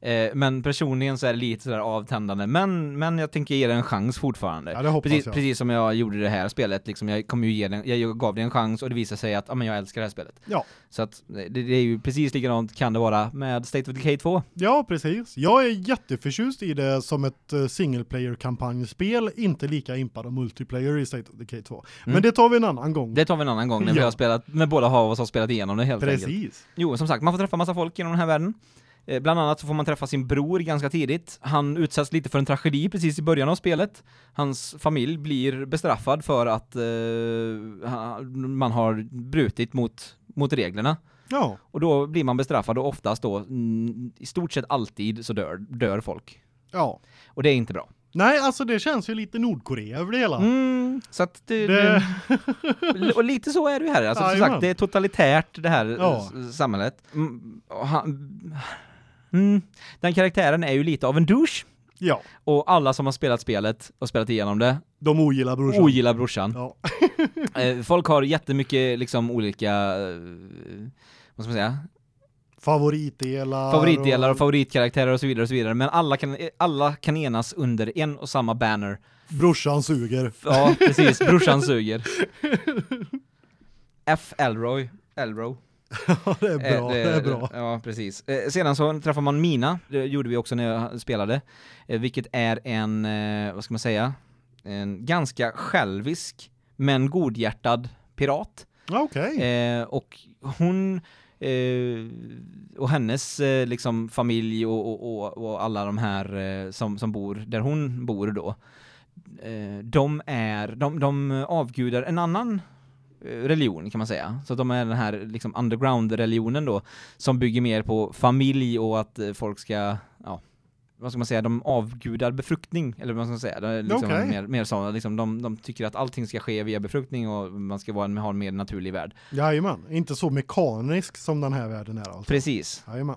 Eh, men personligen så är det lite sådär avtändande. Men, men jag tänker ge det en chans fortfarande. Ja, det hoppas precis, jag. precis som jag gjorde det här spelet, liksom, jag, kom ju ge den, jag gav det en chans och det visade sig att ja, men jag älskar det här spelet. Ja. Så att, det, det är ju precis likadant kan det vara med State of Decay 2. Ja, precis. Jag är jätteförtjust i det som ett eh, single player kampanjspel, inte lika impad av multiplayer i State of Decay 2. Mm. Men det tar vi en annan gång. Det tar vi en annan gång när, vi Ja. har spelat, när båda har oss har spelat igenom det helt enkelt. precis. Jo, som sagt, man får träffa massa folk genom den här världen. Eh, Bland annat så får man träffa sin bror ganska tidigt. Han utsätts lite för en tragedi precis i början av spelet. Hans familj blir bestraffad för att eh, ha- man har brutit mot, mot reglerna. Ja, Och då blir man bestraffad och oftast då, mm, i stort sett alltid, så dör, dör folk. ja. Och det är inte bra. Nej, alltså det känns ju lite Nordkorea över det hela. Mm, så att det, Det, L- Och lite så är det ju här, alltså, som Jajamän. sagt, det är totalitärt det här Ja. s- samhället. Mm, och han, mm, den karaktären är ju lite av en douche, ja, och alla som har spelat spelet och spelat igenom det de ogillar brorsan. ogillar brorsan. Ja. Eh, folk har jättemycket liksom olika, eh, vad ska man säga, Favoritdelar. favoritdelar och favoritkaraktärer och så vidare och så vidare, men alla kan, alla kan enas under en och samma banner. Brorsan suger. Ja, precis, brorsan suger. F. Elroy, Elroy. Ja, det är bra. Eh, Det är bra. Ja, precis. Eh, Sedan så träffar man Mina, det gjorde vi också när jag spelade, eh, vilket är en, eh, vad ska man säga, en ganska självisk men godhjärtad pirat. Ja, Okej. Eh, och hon eh, och hennes eh, liksom familj och, och, och, och alla de här eh, som, som bor där hon bor då, eh, de är, de, de avgudar en annan eh, religion kan man säga. Så de är den här liksom underground-religionen då, som bygger mer på familj och att eh, folk ska, ja, vad ska man säga, de avgudar befruktning, eller vad ska man säga, det är liksom Okej. mer, mer sådana, liksom de, de tycker att allting ska ske via befruktning och man ska vara en, ha en mer naturlig värld. Jajamän. Inte så mekanisk som den här världen är alltså. Precis, Jajamän.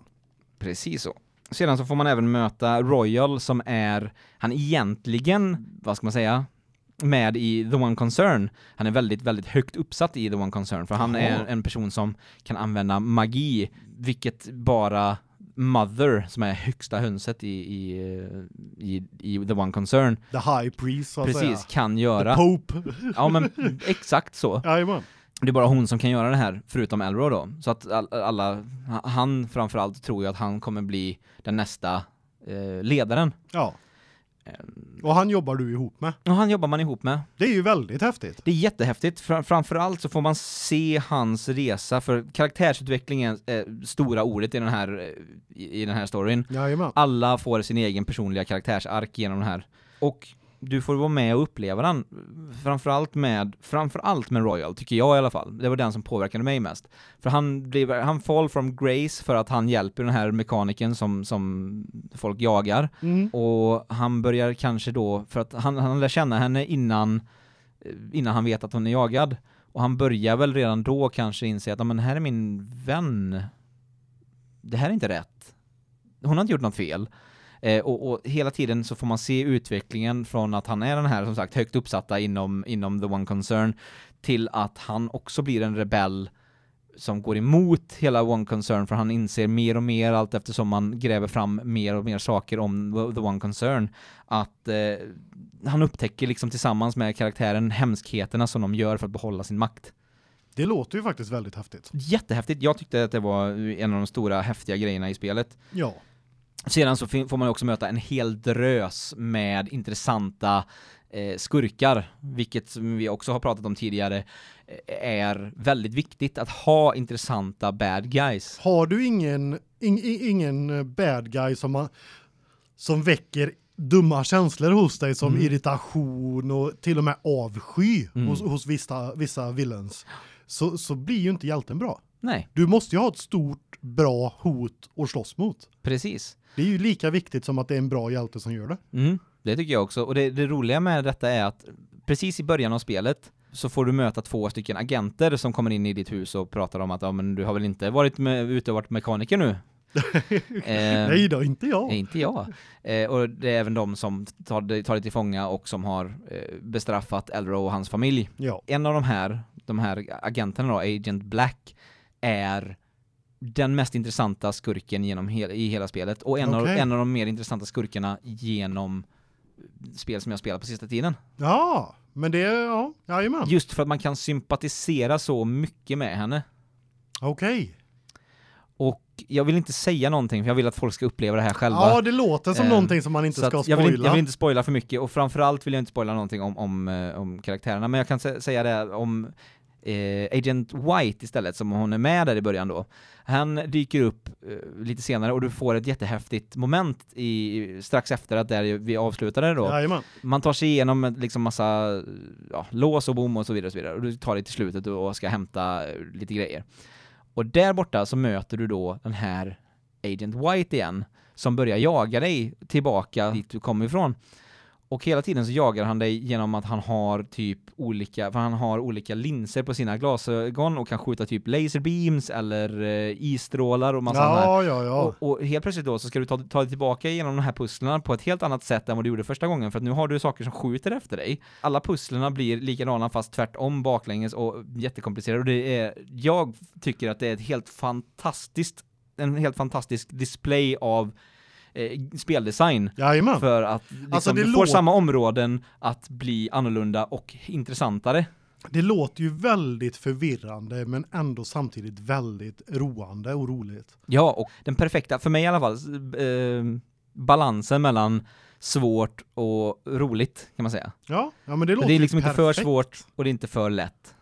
precis så. Sedan så får man även möta Royal som är, han egentligen, vad ska man säga, med i The One Concern. Han är väldigt, väldigt högt uppsatt i The One Concern för han Jaha. är en person som kan använda magi, vilket bara Mother, som är högsta hönset i, i, i, i The One Concern, The high priest så att precis säga. kan göra. Pope. Ja men exakt så. Jajamän. Det är bara hon som kan göra det här, förutom Elro då. Så att all- alla, han framförallt tror ju att han kommer bli den nästa eh, ledaren. Ja. Och han jobbar du ihop med. Och han jobbar man ihop med. Det är ju väldigt häftigt. Det är jättehäftigt. Fra- Framförallt så får man se hans resa, för karaktärsutvecklingen är eh, stora ordet i den här, eh, i, i den här storyn. Jajamän. Alla får sin egen personliga karaktärsark genom det här. Och du får vara med och uppleva den, framförallt med, framförallt med Royal, tycker jag i alla fall. Det var den som påverkade mig mest. För han blir, han fall from grace för att han hjälper den här mekaniken som, som folk jagar. Mm. Och han börjar kanske då, för att han, han lär känna henne innan, eh, innan han vet att hon är jagad. Och han börjar väl redan då kanske inse att, "Ja, men här är min vän. Det här är inte rätt. Hon har inte gjort något fel. Eh, och, och hela tiden så får man se utvecklingen från att han är den här som sagt högt uppsatta inom, inom The One Concern till att han också blir en rebell som går emot hela One Concern för han inser mer och mer allt eftersom man gräver fram mer och mer saker om The- The One Concern att eh, han upptäcker liksom tillsammans med karaktären hemskheterna som de gör för att behålla sin makt. Det låter ju faktiskt väldigt häftigt. Jättehäftigt. Jag tyckte att det var en av de stora häftiga grejerna i spelet. Ja. Sedan så fin- får man ju också möta en hel drös med intressanta eh, skurkar, vilket som vi också har pratat om tidigare eh, är väldigt viktigt att ha intressanta bad guys. Har du ingen ing, i- ingen eh, bad guy som man, som väcker dumma känslor hos dig som Mm. irritation och till och med avsky Mm. hos, hos vissa vissa villains så så blir ju inte hjälten bra. Nej, Du måste ju ha ett stort bra hot att slåss mot. precis. Det är ju lika viktigt som att det är en bra hjälte som gör det. Mm, det tycker jag också. Och det, det roliga med detta är att precis i början av spelet så får du möta två stycken agenter som kommer in i ditt hus och pratar om att ja, men du har väl inte varit med, ute och varit mekaniker nu? Eh, Nej då, inte Nej, jag. inte jag. Eh, och det är även de som tar, dig- tar dig till fånga och som har eh, bestraffat Elro och hans familj. Ja. En av de här, de här agenterna då, Agent Black, är den mest intressanta skurken genom hel, i hela spelet och en, av, Okej. en av de mer intressanta skurkarna genom spel som jag spelat på sista tiden. Ja, men det ja, jajamän. Just för att man kan sympatisera så mycket med henne. Okej. Och jag vill inte säga någonting för jag vill att folk ska uppleva det här själva. Ja, det låter som Eh, någonting som man inte Så ska att jag, vill, spoila. inte- jag vill inte spoila för mycket och framförallt vill jag inte spoila någonting om, om, eh, om karaktärerna, men jag kan sä- säga det om eh, Agent White istället, som hon är med där i början då. Han dyker upp eh, lite senare och du får ett jättehäftigt moment i, strax efter att där vi avslutade då. Jajamän. Man tar sig igenom en liksom massa ja, lås och bom och så vidare och så vidare och du tar dig till slutet och ska hämta eh, lite grejer. Och där borta så möter du då den här Agent White igen som börjar jaga dig tillbaka dit du kommer ifrån. Och hela tiden så jagar han dig genom att han har typ olika, för han har olika linser på sina glasögon och kan skjuta typ laserbeams eller eh, isstrålar och massa sådana här Ja, ja, ja. och, och helt plötsligt då så ska du ta, ta dig tillbaka genom de här pusslen på ett helt annat sätt än vad du gjorde första gången för att nu har du saker som skjuter efter dig. Alla pusslen blir likadana fast tvärtom baklänges och jättekomplicerade och det är, jag tycker att det är ett helt fantastiskt, en helt fantastisk display av eh, speldesign Jajamän. för att liksom, Alltså, det du får lå- samma områden att bli annorlunda och intressantare. Det låter ju väldigt förvirrande men ändå samtidigt väldigt roande och roligt. Ja, och den perfekta, för mig i alla fall, s- eh, balansen mellan svårt och roligt kan man säga. Ja, ja men det låter det är ju liksom inte för perfekt. svårt och det är inte för lätt.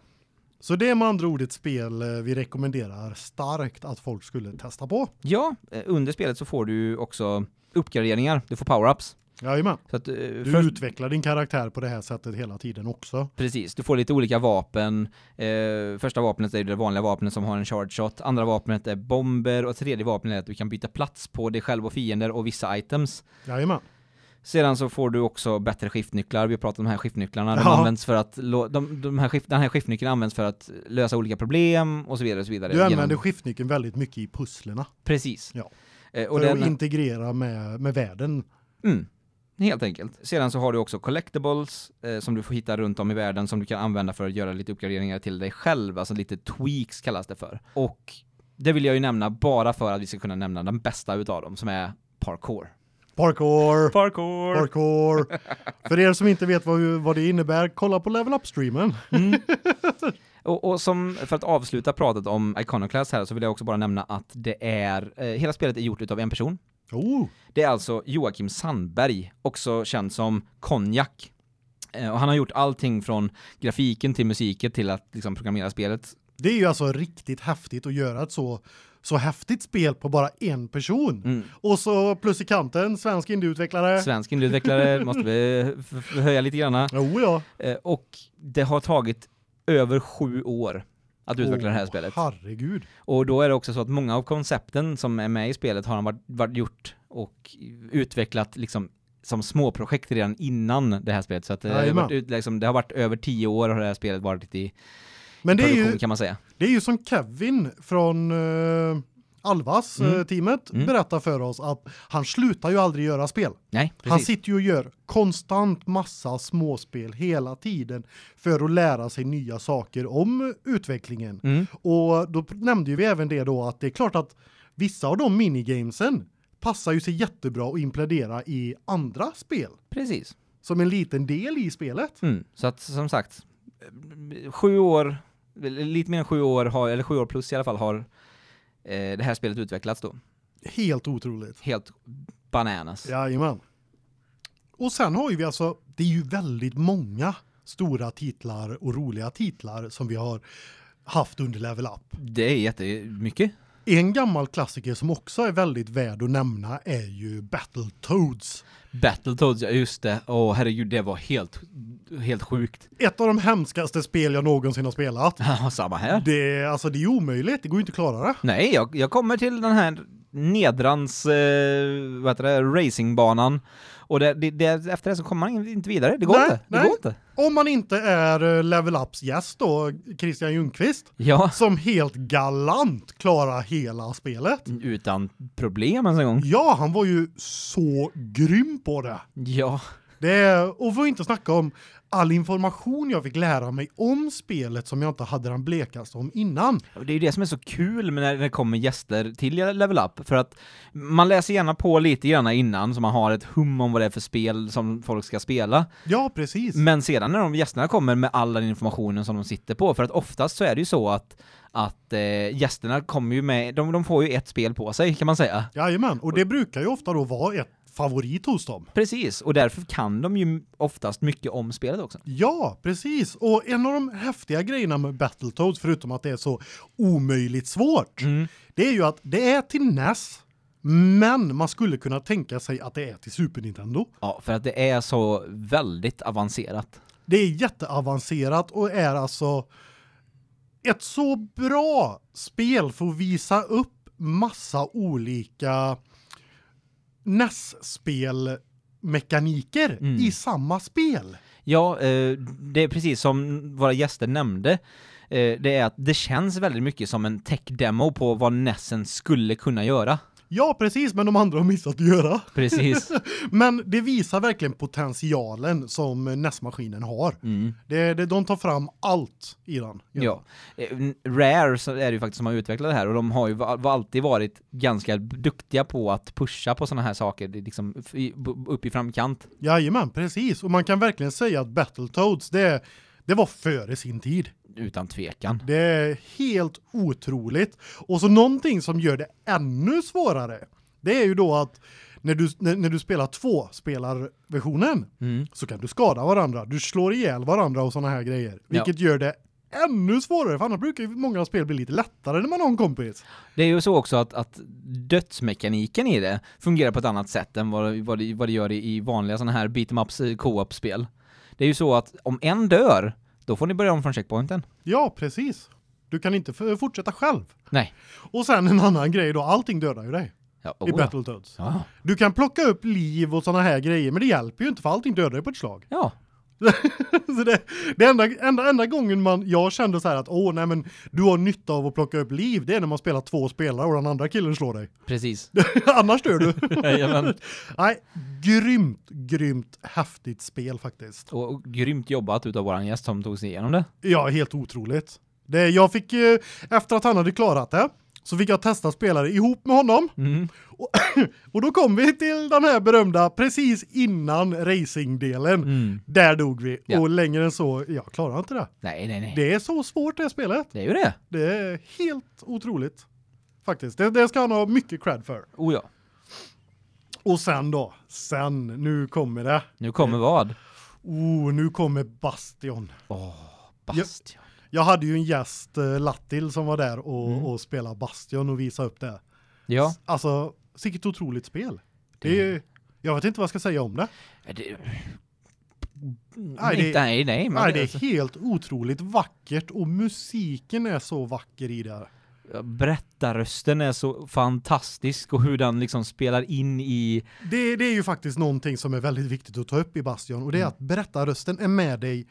Så det är med andra ord ett spel eh, vi rekommenderar starkt att folk skulle testa på. Ja, eh, under spelet så får du också uppgraderingar, du får power-ups. Jajamän. Så att, eh, Du först- utvecklar din karaktär på det här sättet hela tiden också. Precis, du får lite olika vapen. Eh, första vapnet är det vanliga vapnet som har en charge shot, andra vapnet är bomber och tredje vapnet är att du kan byta plats på dig själv och fiender och vissa items. Jajamän. Sedan så får du också bättre skiftnycklar, vi har pratat om de här skiftnycklarna, de Ja. används för att, lå- de, de här skift, den här skiftnyckeln används för att lösa olika problem och så vidare och så vidare. Du använder Genom- skiftnyckeln väldigt mycket i pusslerna Precis. Ja. Eh, och för den, att integrera med, med världen. Mm. Helt enkelt. Sedan så har du också collectibles eh, som du får hitta runt om i världen som du kan använda för att göra lite uppgraderingar till dig själv, alltså lite tweaks kallas det för. Och det vill jag ju nämna bara för att vi ska kunna nämna den bästa utav dem som är parkour. Parkour! Parkour! Parkour! för er som inte vet vad, vad det innebär, kolla på Level Up-streamen. Mm. Och, och som, för att avsluta pratet om Iconoclast här så vill jag också bara nämna att det är, eh, hela spelet är gjort utav en person. Oh, Det är alltså Joakim Sandberg, också känd som Konjak. Eh, Och han har gjort allting från grafiken till musiken till att liksom programmera spelet. det är ju alltså riktigt häftigt att göra ett så, så häftigt spel på bara en person. Mm. Och så plus i kanten, svensk indieutvecklare. Svensk indieutvecklare måste vi f- f- höja lite grann. Jo Oh ja. Eh, Och det har tagit över sju år att utveckla det här Åh, spelet. Herregud. Och då är det också så att många av koncepten som är med i spelet har han varit, varit gjort och utvecklat liksom som småprojekt redan innan det här spelet. Så att det, har Jajamän. varit, ut- liksom, det har varit över tio år har det här spelet varit i Men det är, produktion ju, kan man säga. det är ju som Kevin från eh, Alvas Mm. eh, teamet Mm. berättar för oss att han slutar ju aldrig göra spel. Nej, Han precis. sitter ju och gör konstant massa småspel hela tiden för att lära sig nya saker om utvecklingen. Mm. Och då nämnde ju vi även det då att det är klart att vissa av de minigamesen passar ju sig jättebra att implementera i andra spel Precis. som en liten del i spelet. Mm. Så att som sagt, sju år, lite mer än sju år, har, eller sju år plus i alla fall, har eh, det här spelet utvecklats då. Helt otroligt. Helt bananas. Jajamän. Och sen har ju vi alltså, det är ju väldigt många stora titlar och roliga titlar som vi har haft under Level Up. Det är jättemycket. En gammal klassiker som också är väldigt värd att nämna är ju Battletoads. Battletoads, ja just det. Åh herregud, det var helt, helt sjukt. Ett av de hemskaste spel jag någonsin har spelat. Samma här. Det är, alltså, det är omöjligt, det går ju inte att klara det. Nej, jag, jag kommer till den här nedrans, eh, vad heter det, racingbanan. Och det, det, det, efter det så kommer man inte vidare, det går Nej, inte. Det nej. går inte. Om man inte är eh, Level Ups gäst då, Christian Ljungqvist, Ja, som helt galant klarar hela spelet. utan problem ens en gång. Ja, han var ju så grym på det. Ja, Det och får inte snacka om all information jag fick lära mig om spelet som jag inte hade den blekaste om innan. och det är ju det som är så kul med när när det kommer gäster till Level Up, för att man läser gärna på lite grann innan så man har ett hum om vad det är för spel som folk ska spela. Ja, precis. Men sedan när de gästerna kommer med all den informationen som de sitter på, för att oftast så är det ju så att, att eh, gästerna kommer ju med, de, de får ju ett spel på sig kan man säga. Jajamän, och det brukar ju ofta då vara ett favorit hos dem. Precis, och därför kan de ju oftast mycket om spelet också. Ja, precis. Och en av de häftiga grejerna med Battletoads, förutom att det är så omöjligt svårt, Mm. det är ju att det är till NES, men man skulle kunna tänka sig att det är till Super Nintendo. Ja, för att det är så väldigt avancerat. Det är jätteavancerat och är alltså ett så bra spel för att visa upp massa olika NES-spel mekaniker Mm. i samma spel. Ja, eh, det är precis som våra gäster nämnde, eh, det är att det känns väldigt mycket som en tech-demo på vad Nessen skulle kunna göra. Ja, precis, men de andra har missat att göra. Precis. Men det visar verkligen potentialen som NES-maskinen har. Mm. Det, det, de tar fram allt i den. Ja. Eh, n- Rare så är det ju faktiskt som har utvecklat det här och de har ju va- va- alltid varit ganska duktiga på att pusha på sådana här saker, det är liksom f- i- b- upp i framkant. Jajamän, precis. Och man kan verkligen säga att Battletoads, det, det var före sin tid. Utan tvekan. Det är helt otroligt. Och så någonting som gör det ännu svårare, det är ju då att när du, när, när du spelar två spelarversionen Mm. så kan du skada varandra. Du slår ihjäl varandra och sådana här grejer. Vilket gör det ännu svårare, för annars brukar ju många spel bli lite lättare när man har en kompis. Det är ju så också att, att dödsmekaniken i det fungerar på ett annat sätt än vad, vad, det, vad det gör i, i vanliga sådana här beat em ups eh, co-op-spel. Det är ju så att om en dör, då får ni börja om från checkpointen. Ja, precis. Du kan inte f- fortsätta själv. Nej. Och sen en annan grej då, allting dödar ju dig Ja, i oh, Battletoads. ja. Du kan plocka upp liv och såna här grejer, men det hjälper ju inte för allting dödar dig på ett slag. ja, så det det enda, enda, enda gången man, jag kände så här att åh nej men du har nytta av att plocka upp liv, det är när man spelar två spelare och den andra killen slår dig. precis. Annars dör du. Jajamän. nej, grymt, grymt häftigt spel faktiskt. och, och grymt jobbat utav våran gäst som tog sig igenom det. Ja, helt otroligt. Det, jag fick, eh, efter att han hade klarat det, så fick jag testa spelare ihop med honom. Mm. Och då kom vi till den här berömda, precis innan racingdelen. Mm. Där dog vi. Ja. Och längre än så, jag klarar inte det. Nej, nej, nej. Det är så svårt det här spelet. Det är ju det. Det är helt otroligt. Faktiskt. Det, det ska han ha mycket cred för. Oh ja. Och sen då, sen, nu kommer det. Nu kommer vad? Oh, nu kommer Bastion. Åh, Bastion. Jag hade ju en gäst, eh, Lattil, som var där och, Mm. och spelade Bastion och visade upp det. Ja. Mm. S- Alltså, vilket otroligt spel. Det är ju, jag vet inte vad jag ska säga om det. Det... Nej, det- Nej, nej, nej. men- Nej, det är helt otroligt vackert och musiken är så vacker i det här. berättarrösten är så fantastisk och hur den liksom spelar in i Det, det är ju faktiskt någonting som är väldigt viktigt att ta upp i Bastion och det är att berättarrösten är med dig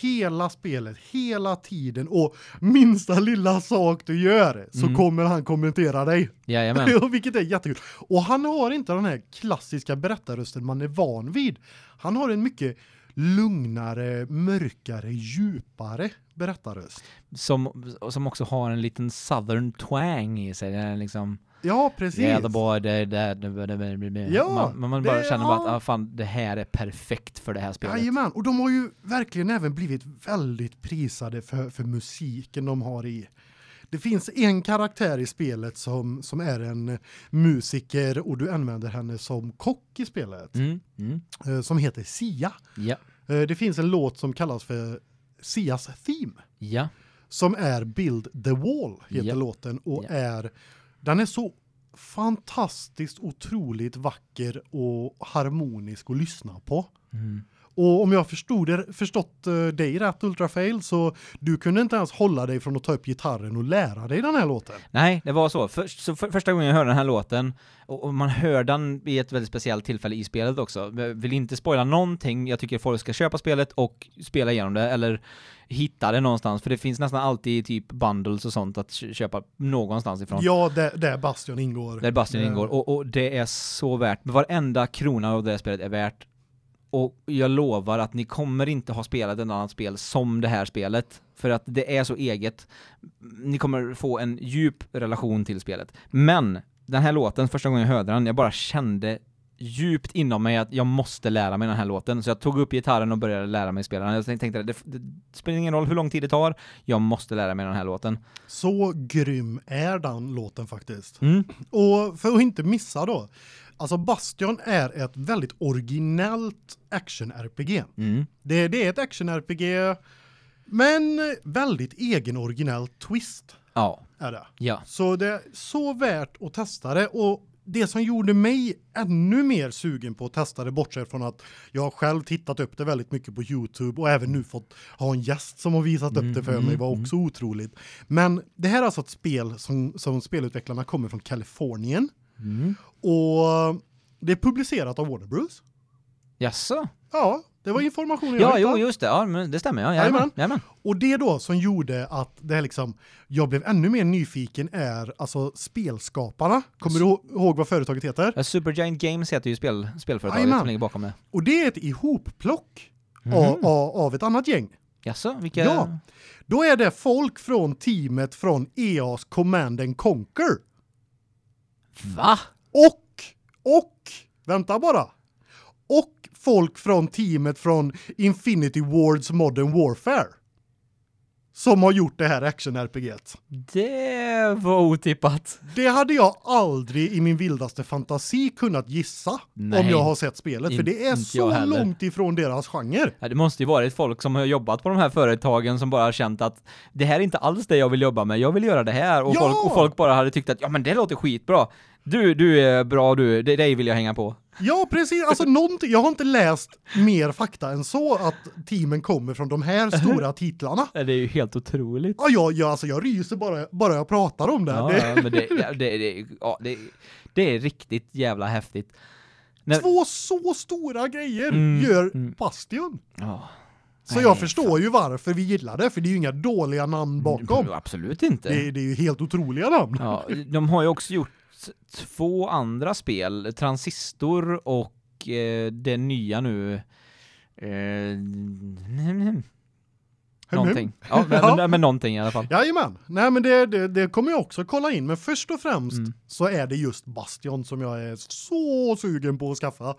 hela spelet, hela tiden och minsta lilla sak du gör så Mm. kommer han kommentera dig. Jajamän. Vilket är jättekul. Och han har inte den här klassiska berättarrösten man är van vid. Han har en mycket lugnare, mörkare, djupare berättarröst. som, som också har en liten southern twang i sig. Den är liksom Ja, precis. yeah, the boy, the, the, the, the, the, the. Ja, man, man- man bara det- känner bara att ja. ah, fan, det här är perfekt för det här spelet. Jajamän, och de har ju verkligen även blivit väldigt prisade för, för musiken de har i. Det finns en karaktär i spelet som, som är en musiker och du använder henne som kock i spelet. Mm, mm, eh, Som heter Sia. ja, Eh, Det finns en låt som kallas för Sias Theme. ja, Som är Build the Wall heter Ja. låten och Ja. är den är så fantastiskt otroligt vacker och harmonisk att lyssna på. mm, Och om jag förstod det, förstått eh, dig rätt Ultrafail så du kunde inte ens hålla dig från att ta upp gitarren och lära dig den här låten. Nej, det var så. Först, så för, första gången jag hörde den här låten, och, och man hör den i ett väldigt speciellt tillfälle i spelet också. Jag vill inte spoila någonting, jag tycker folk ska köpa spelet och spela igenom det, eller hitta det någonstans, för det finns nästan alltid typ bundles och sånt att kö- köpa någonstans ifrån. Ja, där, där Bastion ingår. Där Bastion Eh, ingår, och, och det är så värt. Varenda krona av det här spelet är värt. Och jag lovar att ni kommer inte ha spelat ett annat spel som det här spelet. För att det är så eget. Ni kommer få en djup relation till spelet. Men, den här låten, första gången jag hörde den, jag bara kände djupt inom mig att jag måste lära mig den här låten. Så jag tog upp gitarren och började lära mig spela den. Jag tänkte, det, det spelar ingen roll hur lång tid det tar, jag måste lära mig den här låten. Så grym är den låten faktiskt. Mm. Och för att inte missa då. Alltså Bastion är ett väldigt originellt action-RPG. Mm. Det, det är ett action-RPG men väldigt egen originell twist Ja. är det. Ja. Så det är så värt att testa det och det som gjorde mig ännu mer sugen på att testa det bortsett från att jag själv tittat upp det väldigt mycket på Youtube och även nu fått ha en gäst som har visat Mm, upp det för mig var också otroligt. Men det här är alltså ett spel som, som spelutvecklarna kommer från Kalifornien Mm. och det är publicerat av Warner Bros. Jaså? Ja, det var informationen jag Ja, hittade. jo, just det. Ja, men det stämmer. Ja, Jajamän. jajamän. Jajamän. Och det då som gjorde att det här liksom jag blev ännu mer nyfiken är alltså spelskaparna. Kommer du ihå- ihåg vad företaget heter? Ja, Supergiant Games heter ju spel, spelföretaget Jajamän. som ligger bakom det. Och det är ett ihopplock Mhm. av, av, av ett annat gäng. Jaså, vilka... Ja. Då är det folk från teamet från EA's Command and Conquer Va? och och vänta bara. Och folk från teamet från Infinity Wards Modern Warfare som har gjort det här action RPG:et. Det var otippat. Det hade jag aldrig i min vildaste fantasi kunnat gissa om Nej. jag har sett spelet. För In- det är inte jag så heller. långt ifrån deras genre. Ja, det måste ju varit folk som har jobbat på de här företagen som bara har känt att det här är inte alls det jag vill jobba med, jag vill göra det här. Och, Ja! folk, och folk bara hade tyckt att ja men det låter skitbra. Du, du är bra du, det dig vill jag hänga på. Ja, precis. Alltså, någonting, jag har inte läst mer fakta än så att teamen kommer från de här stora titlarna. Ja, Det är ju helt otroligt. Ja, jag, jag, alltså, jag ryser bara, bara jag pratar om det. Ja, det ja, men det, ja, det, det, ja, det, det är riktigt jävla häftigt. När- Två så stora grejer Mm, gör mm. Bastion. Ja. Så Nej, jag förstår ju varför vi gillar det, för det är ju inga dåliga namn bakom. Absolut inte. Det, det är ju helt otroliga namn. Ja, de har ju också gjort två andra spel, Transistor och eh, det nya nu... Eh, någonting. Ja, men, Ja. men, men någonting i alla fall. Jajamän. Nej men det, det, det kommer jag också kolla in. Men först och främst Mm. så är det just Bastion som jag är så sugen på att skaffa.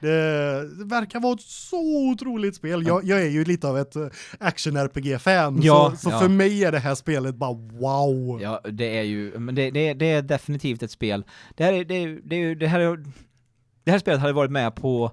Det verkar vara ett så otroligt spel. Jag, jag är ju lite av ett eh, action-RPG-fan. Ja, så så ja. för mig är det här spelet bara wow. Ja, det är ju, men det, det, det är definitivt ett spel. Det här är, det, är- det, är ju- det här är, det här spelet hade varit med på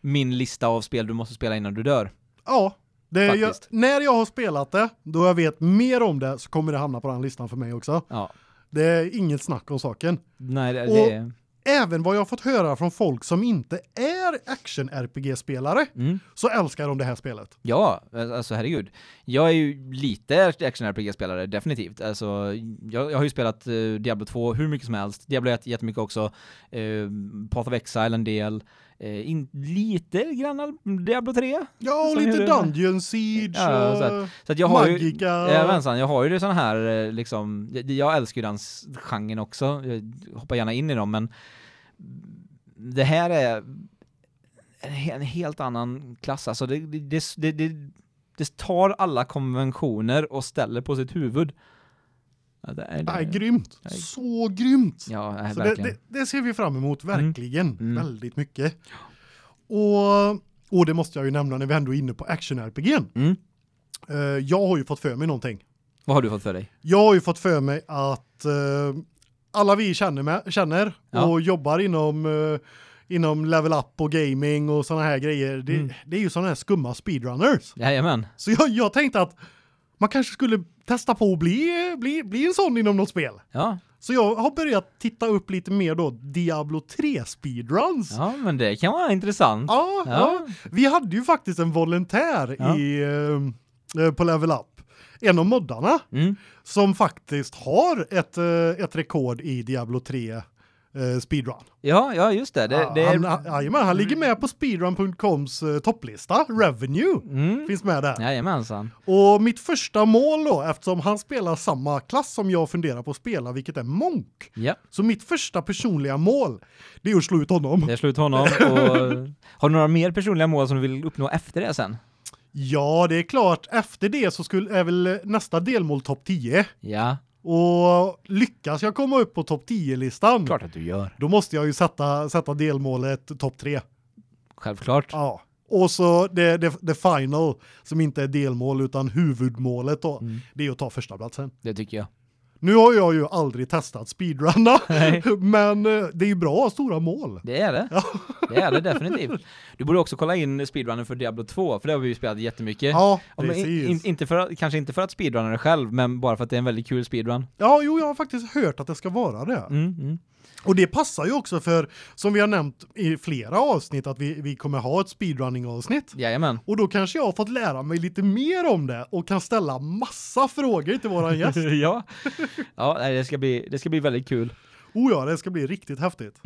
min lista av spel du måste spela innan du dör. Ja. Det är jag, Faktiskt. när jag har spelat det, då jag vet mer om det, så kommer det hamna på den listan för mig också. Ja. Det är inget snack om saken. Nej, det, Och- det är... Även vad jag har fått höra från folk som inte är action-RPG-spelare, Mm. så älskar de det här spelet. Ja, alltså herregud. Jag är ju lite action-RPG-spelare, definitivt. Alltså, jag, jag har ju spelat eh, Diablo 2 hur mycket som helst. Diablo 1 jättemycket också. Uh, Path of Exile en del. Eh, in, lite grann Diablo 3. Ja, och Som lite gjorde det. Dungeon Siege Ja, så och... att- Så att jag har Magica. ju... Jajamensan, jag har ju det sån här eh, liksom... Jag, jag älskar ju den s- genren också. Jag hoppar gärna in i dem, men... Det här är en he- en helt annan klass. Alltså det, det, det, det, det, det tar alla konventioner och ställer på sitt huvud. Ja, det är, Nej, grymt. Nej. Så grymt. ja, nej, så Alltså, det, verkligen. det, det ser vi fram emot, verkligen. Mm. Väldigt mycket. Och, och det måste Eh, jag ju nämna när vi ändå är inne på action-RPG. Mm. jag har ju fått för mig någonting. Vad har du fått för dig? Jag har ju fått för mig att eh, alla vi känner, med, känner Ja. och jobbar inom, eh, inom level up och gaming och sådana här grejer, det, Mm. det är ju sådana här skumma speedrunners. Jajamän. Så jag, jag tänkte att man kanske skulle testa på att bli, bli, bli en sån inom något spel. Ja, Så jag har börjat titta upp lite mer då Diablo 3 speedruns. ja men det kan vara intressant. Ja, ja. Vi hade ju faktiskt en volontär Ja. i, eh, eh, på Level Up. En av moddarna Mm. som faktiskt har ett, eh, ett rekord i Diablo 3 eh, speedrun. Ja, ja just det. det, Ah, det Han, han, jajamän, han ligger med på speedrun.coms eh, topplista, Revenue, mm. finns med där. Jajamensan. Och mitt första mål då, eftersom han spelar samma klass som jag funderar på att spela, vilket är Monk. Ja, Så mitt första personliga mål, det är att slå ut honom. det är slut honom. Och har du några mer personliga mål som du vill uppnå efter det sen? Ja, det är klart, efter det så skulle, är väl nästa delmål topp 10. Ja, Och lyckas jag komma upp på topp 10-listan, klart att du gör. då måste jag ju sätta, sätta delmålet topp 3. Självklart. Ja. Och så det, det, det final, som inte är delmål utan huvudmålet då, Mm. det är att ta första platsen. Det tycker jag. Nu har jag ju aldrig testat speedrunna, Nej. Eh, men eh, det är ju bra att ha stora mål. Det är det. Ja. Det är det definitivt. Du borde också kolla in speedrunnen för Diablo 2, för det har vi ju spelat jättemycket. Ja, Ja, men precis. in, in, inte för, att- kanske inte för att speedrunna det själv, men bara för att det är en väldigt kul speedrun. Ja, jo, jag har faktiskt hört att det ska vara det. Mm, mm. Och det passar ju också för, som vi har nämnt i flera avsnitt, att vi, vi kommer ha ett speedrunning-avsnitt. Jajamän. Och då kanske jag har fått lära mig lite mer om det och kan ställa massa frågor till våran gäst. ja, ja nej, det, ska bli, det ska bli väldigt kul. Oh ja, det ska bli riktigt häftigt.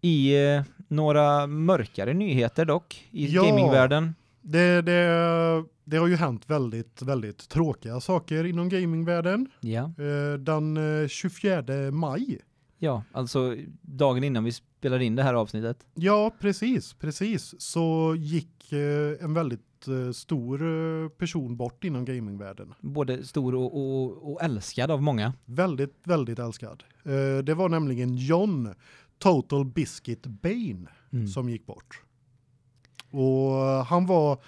I eh, några mörkare nyheter dock, i Ja. gamingvärlden. Det, det, det har ju hänt väldigt, väldigt tråkiga saker inom gamingvärlden. Ja. Eh, Den eh, 24 maj. ja, alltså dagen innan vi spelade in det här avsnittet. Ja, precis, precis. Så gick eh, en väldigt eh, stor eh, person bort inom gamingvärlden. Både stor och, och, och älskad av många. Väldigt, väldigt älskad. Eh, Det var nämligen John Total Biscuit Bane som gick bort. Och han var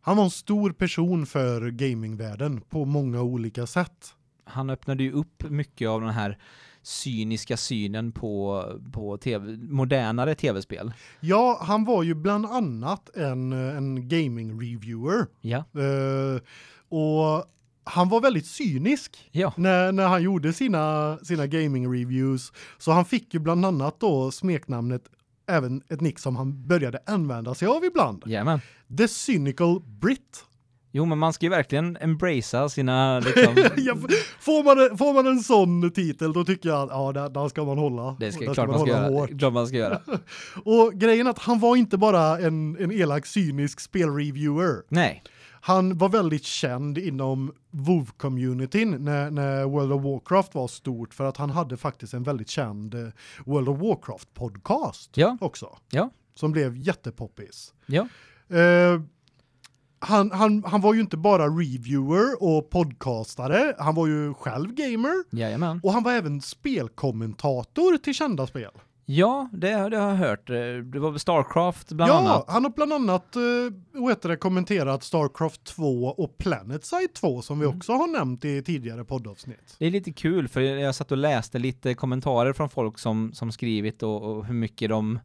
han var en stor person för gamingvärlden på många olika sätt. Han öppnade ju upp mycket av den här cyniska synen på, på TV, modernare tv-spel. Ja, han var ju bland annat en, en gaming-reviewer. Ja. Eh, och han var väldigt cynisk Ja. när, när han gjorde sina, sina gaming-reviews. Så han fick ju bland annat då smeknamnet, även ett nick som han började använda sig av ibland. Jajamän. The Cynical Brit. Jo, men man ska ju verkligen embracea sina liksom, Ja, får, man, får man en sån titel då tycker jag att ja, där, där ska man hålla. Det ska, där klart man ska göra. hårt. Klart man ska göra. Och grejen är att han var inte bara en, en elak cynisk spelreviewer. Nej. Han var väldigt känd inom WoW-communityn när, när World of Warcraft var stort för att han hade faktiskt en väldigt känd eh, World of Warcraft-podcast Ja. också. Ja. Som blev jättepoppis. Ja. Eh, han, han, han var ju inte bara reviewer och podcastare, han var ju själv gamer Jajamän. och han var även spelkommentator till kända spel. Ja, det, det har jag hört. Eh, Det var väl Starcraft bland ja, annat. han har bland annat eh, vad heter det, kommenterat Starcraft 2 och PlanetSide 2 som vi Mm. också har nämnt i tidigare poddavsnitt. Det är lite kul för jag satt och läste lite kommentarer från folk som, som skrivit och, och hur mycket de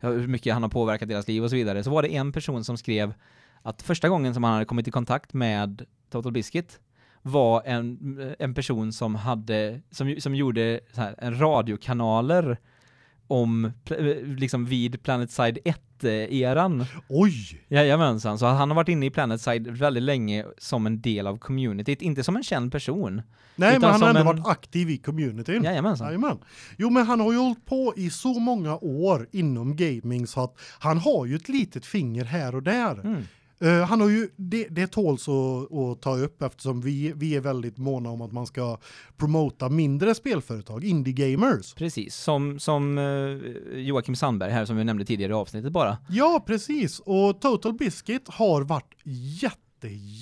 ja, hur mycket han har påverkat deras liv och så vidare. Så var det en person som skrev att första gången som han hade kommit i kontakt med Total Biscuit var en, en person som hade som, som gjorde så här, en radiokanaler om pl- liksom vid Planetside 1 eran. Oj! Jajamensan, så han har varit inne i Planetside väldigt länge som en del av communityt, inte som en känd person. Nej, Utan men han har som ändå en- varit aktiv i communityn. Jajamensan. Jajamän. Jo, men han har ju hållit på i så många år inom gaming så att han har ju ett litet finger här och där. Mm. Eh, han har ju det det tåls att, att ta upp eftersom vi vi är väldigt måna om att man ska promota mindre spelföretag, indie gamers. Precis, som, som eh, Joakim Sandberg här som vi nämnde tidigare i avsnittet bara. Ja, precis. Och Total Biscuit har varit jätte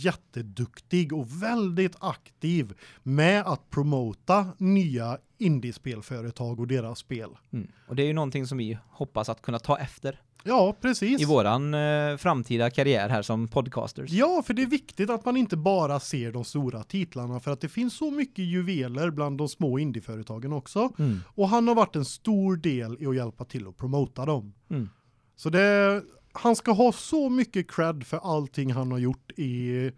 jätteduktig och väldigt aktiv med att promota nya indiespelföretag och deras spel. Mm. Och det är ju någonting som vi hoppas att kunna ta efter. Ja, precis. i våran eh, framtida karriär här som podcasters. Ja, för det är viktigt att man inte bara ser de stora titlarna för att det finns så mycket juveler bland de små indieföretagen också. Mm. Och han har varit en stor del i att hjälpa till att promota dem. Mm. Så det, han ska ha så mycket cred för allting han har gjort i,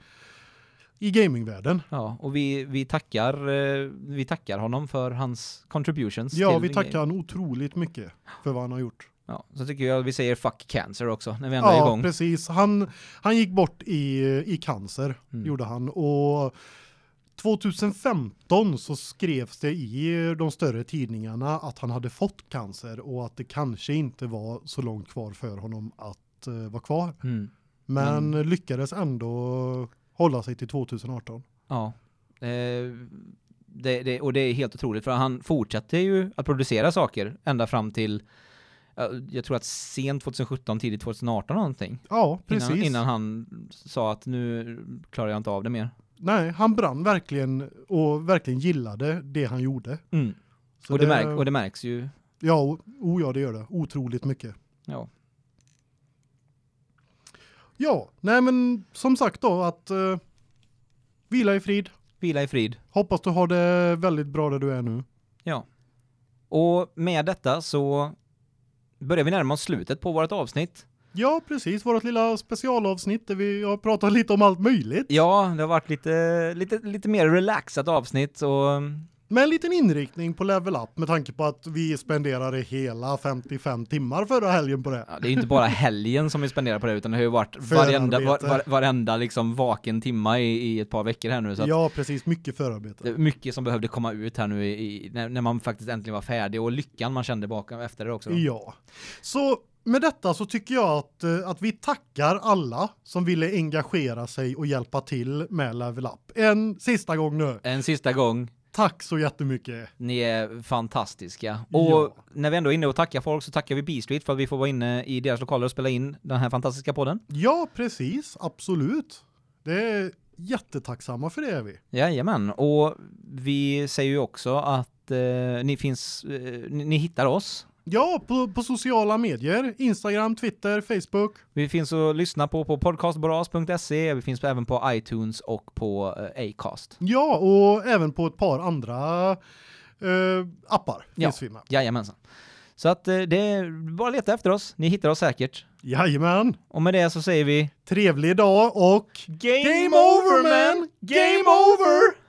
i gamingvärlden. Ja, och vi, vi, tackar, eh, vi tackar honom för hans contributions. Ja, till vi the tackar game. han otroligt mycket för vad han har gjort. Ja, så tycker jag vi säger fuck cancer också när vi ändå är Ja, igång. precis. Han, han gick bort i, i cancer, Mm. gjorde han. Och 2015 så skrevs det i de större tidningarna att han hade fått cancer och att det kanske inte var så långt kvar för honom att eh, vara kvar. Mm. Men lyckades ändå hålla sig till 2018. Ja. Eh, det, det, och det är helt otroligt för han fortsatte ju att producera saker ända fram till eh, jag tror att sent 2017, tidigt 2018 någonting. Ja, precis. Innan, innan han sa att nu klarar jag inte av det mer. Nej, han brann verkligen och verkligen gillade det han gjorde. Mm. Så Och, det märk, och det märks ju. Ja, o o ja, det gör det. Otroligt mycket. Ja. Ja, nej men som sagt då att eh, vila i frid. Vila i frid. Hoppas du har det väldigt bra där du är nu. Och med detta så börjar vi närma oss slutet på vårt avsnitt. Ja, precis. Vårt lilla specialavsnitt där vi har pratat lite om allt möjligt. Ja, det har varit lite, lite, lite mer relaxat avsnitt och Med en liten inriktning på level up med tanke på att vi spenderade hela 55 timmar förra helgen på det. ja, det är ju inte bara helgen som vi spenderar på det utan det har ju varit varenda, Förarbete. var, var, varenda liksom vaken timma i, i ett par veckor här nu. Så att Ja, precis. Mycket förarbete. det är mycket som behövde komma ut här nu i, i, när, när man faktiskt äntligen var färdig och lyckan man kände bakom efter det också. då. Ja. Så med detta så tycker jag att, eh, att vi tackar alla som ville engagera sig och hjälpa till med level up. En sista gång nu. En sista gång. Tack så jättemycket. Ni är fantastiska. Ja. Och när vi ändå är inne och tackar folk så tackar vi B-Street för att vi får vara inne i deras lokaler och spela in den här fantastiska podden. Ja, precis. Absolut. Det är jättetacksamma för det är vi. Jajamän, och vi säger ju också att eh, ni finns, eh, ni, ni hittar oss. Ja, på, på sociala medier. Instagram, Twitter, Facebook. Vi finns att lyssna på på podcastboras.se, vi finns även på iTunes och på eh, Acast. Ja, och även på ett par andra eh, appar Ja. finns vi med. Jajamensan. Så att eh, det är bara att leta efter oss, ni hittar oss säkert. Jajamän. Och med det så säger vi Trevlig dag och Game, over, man! Game over!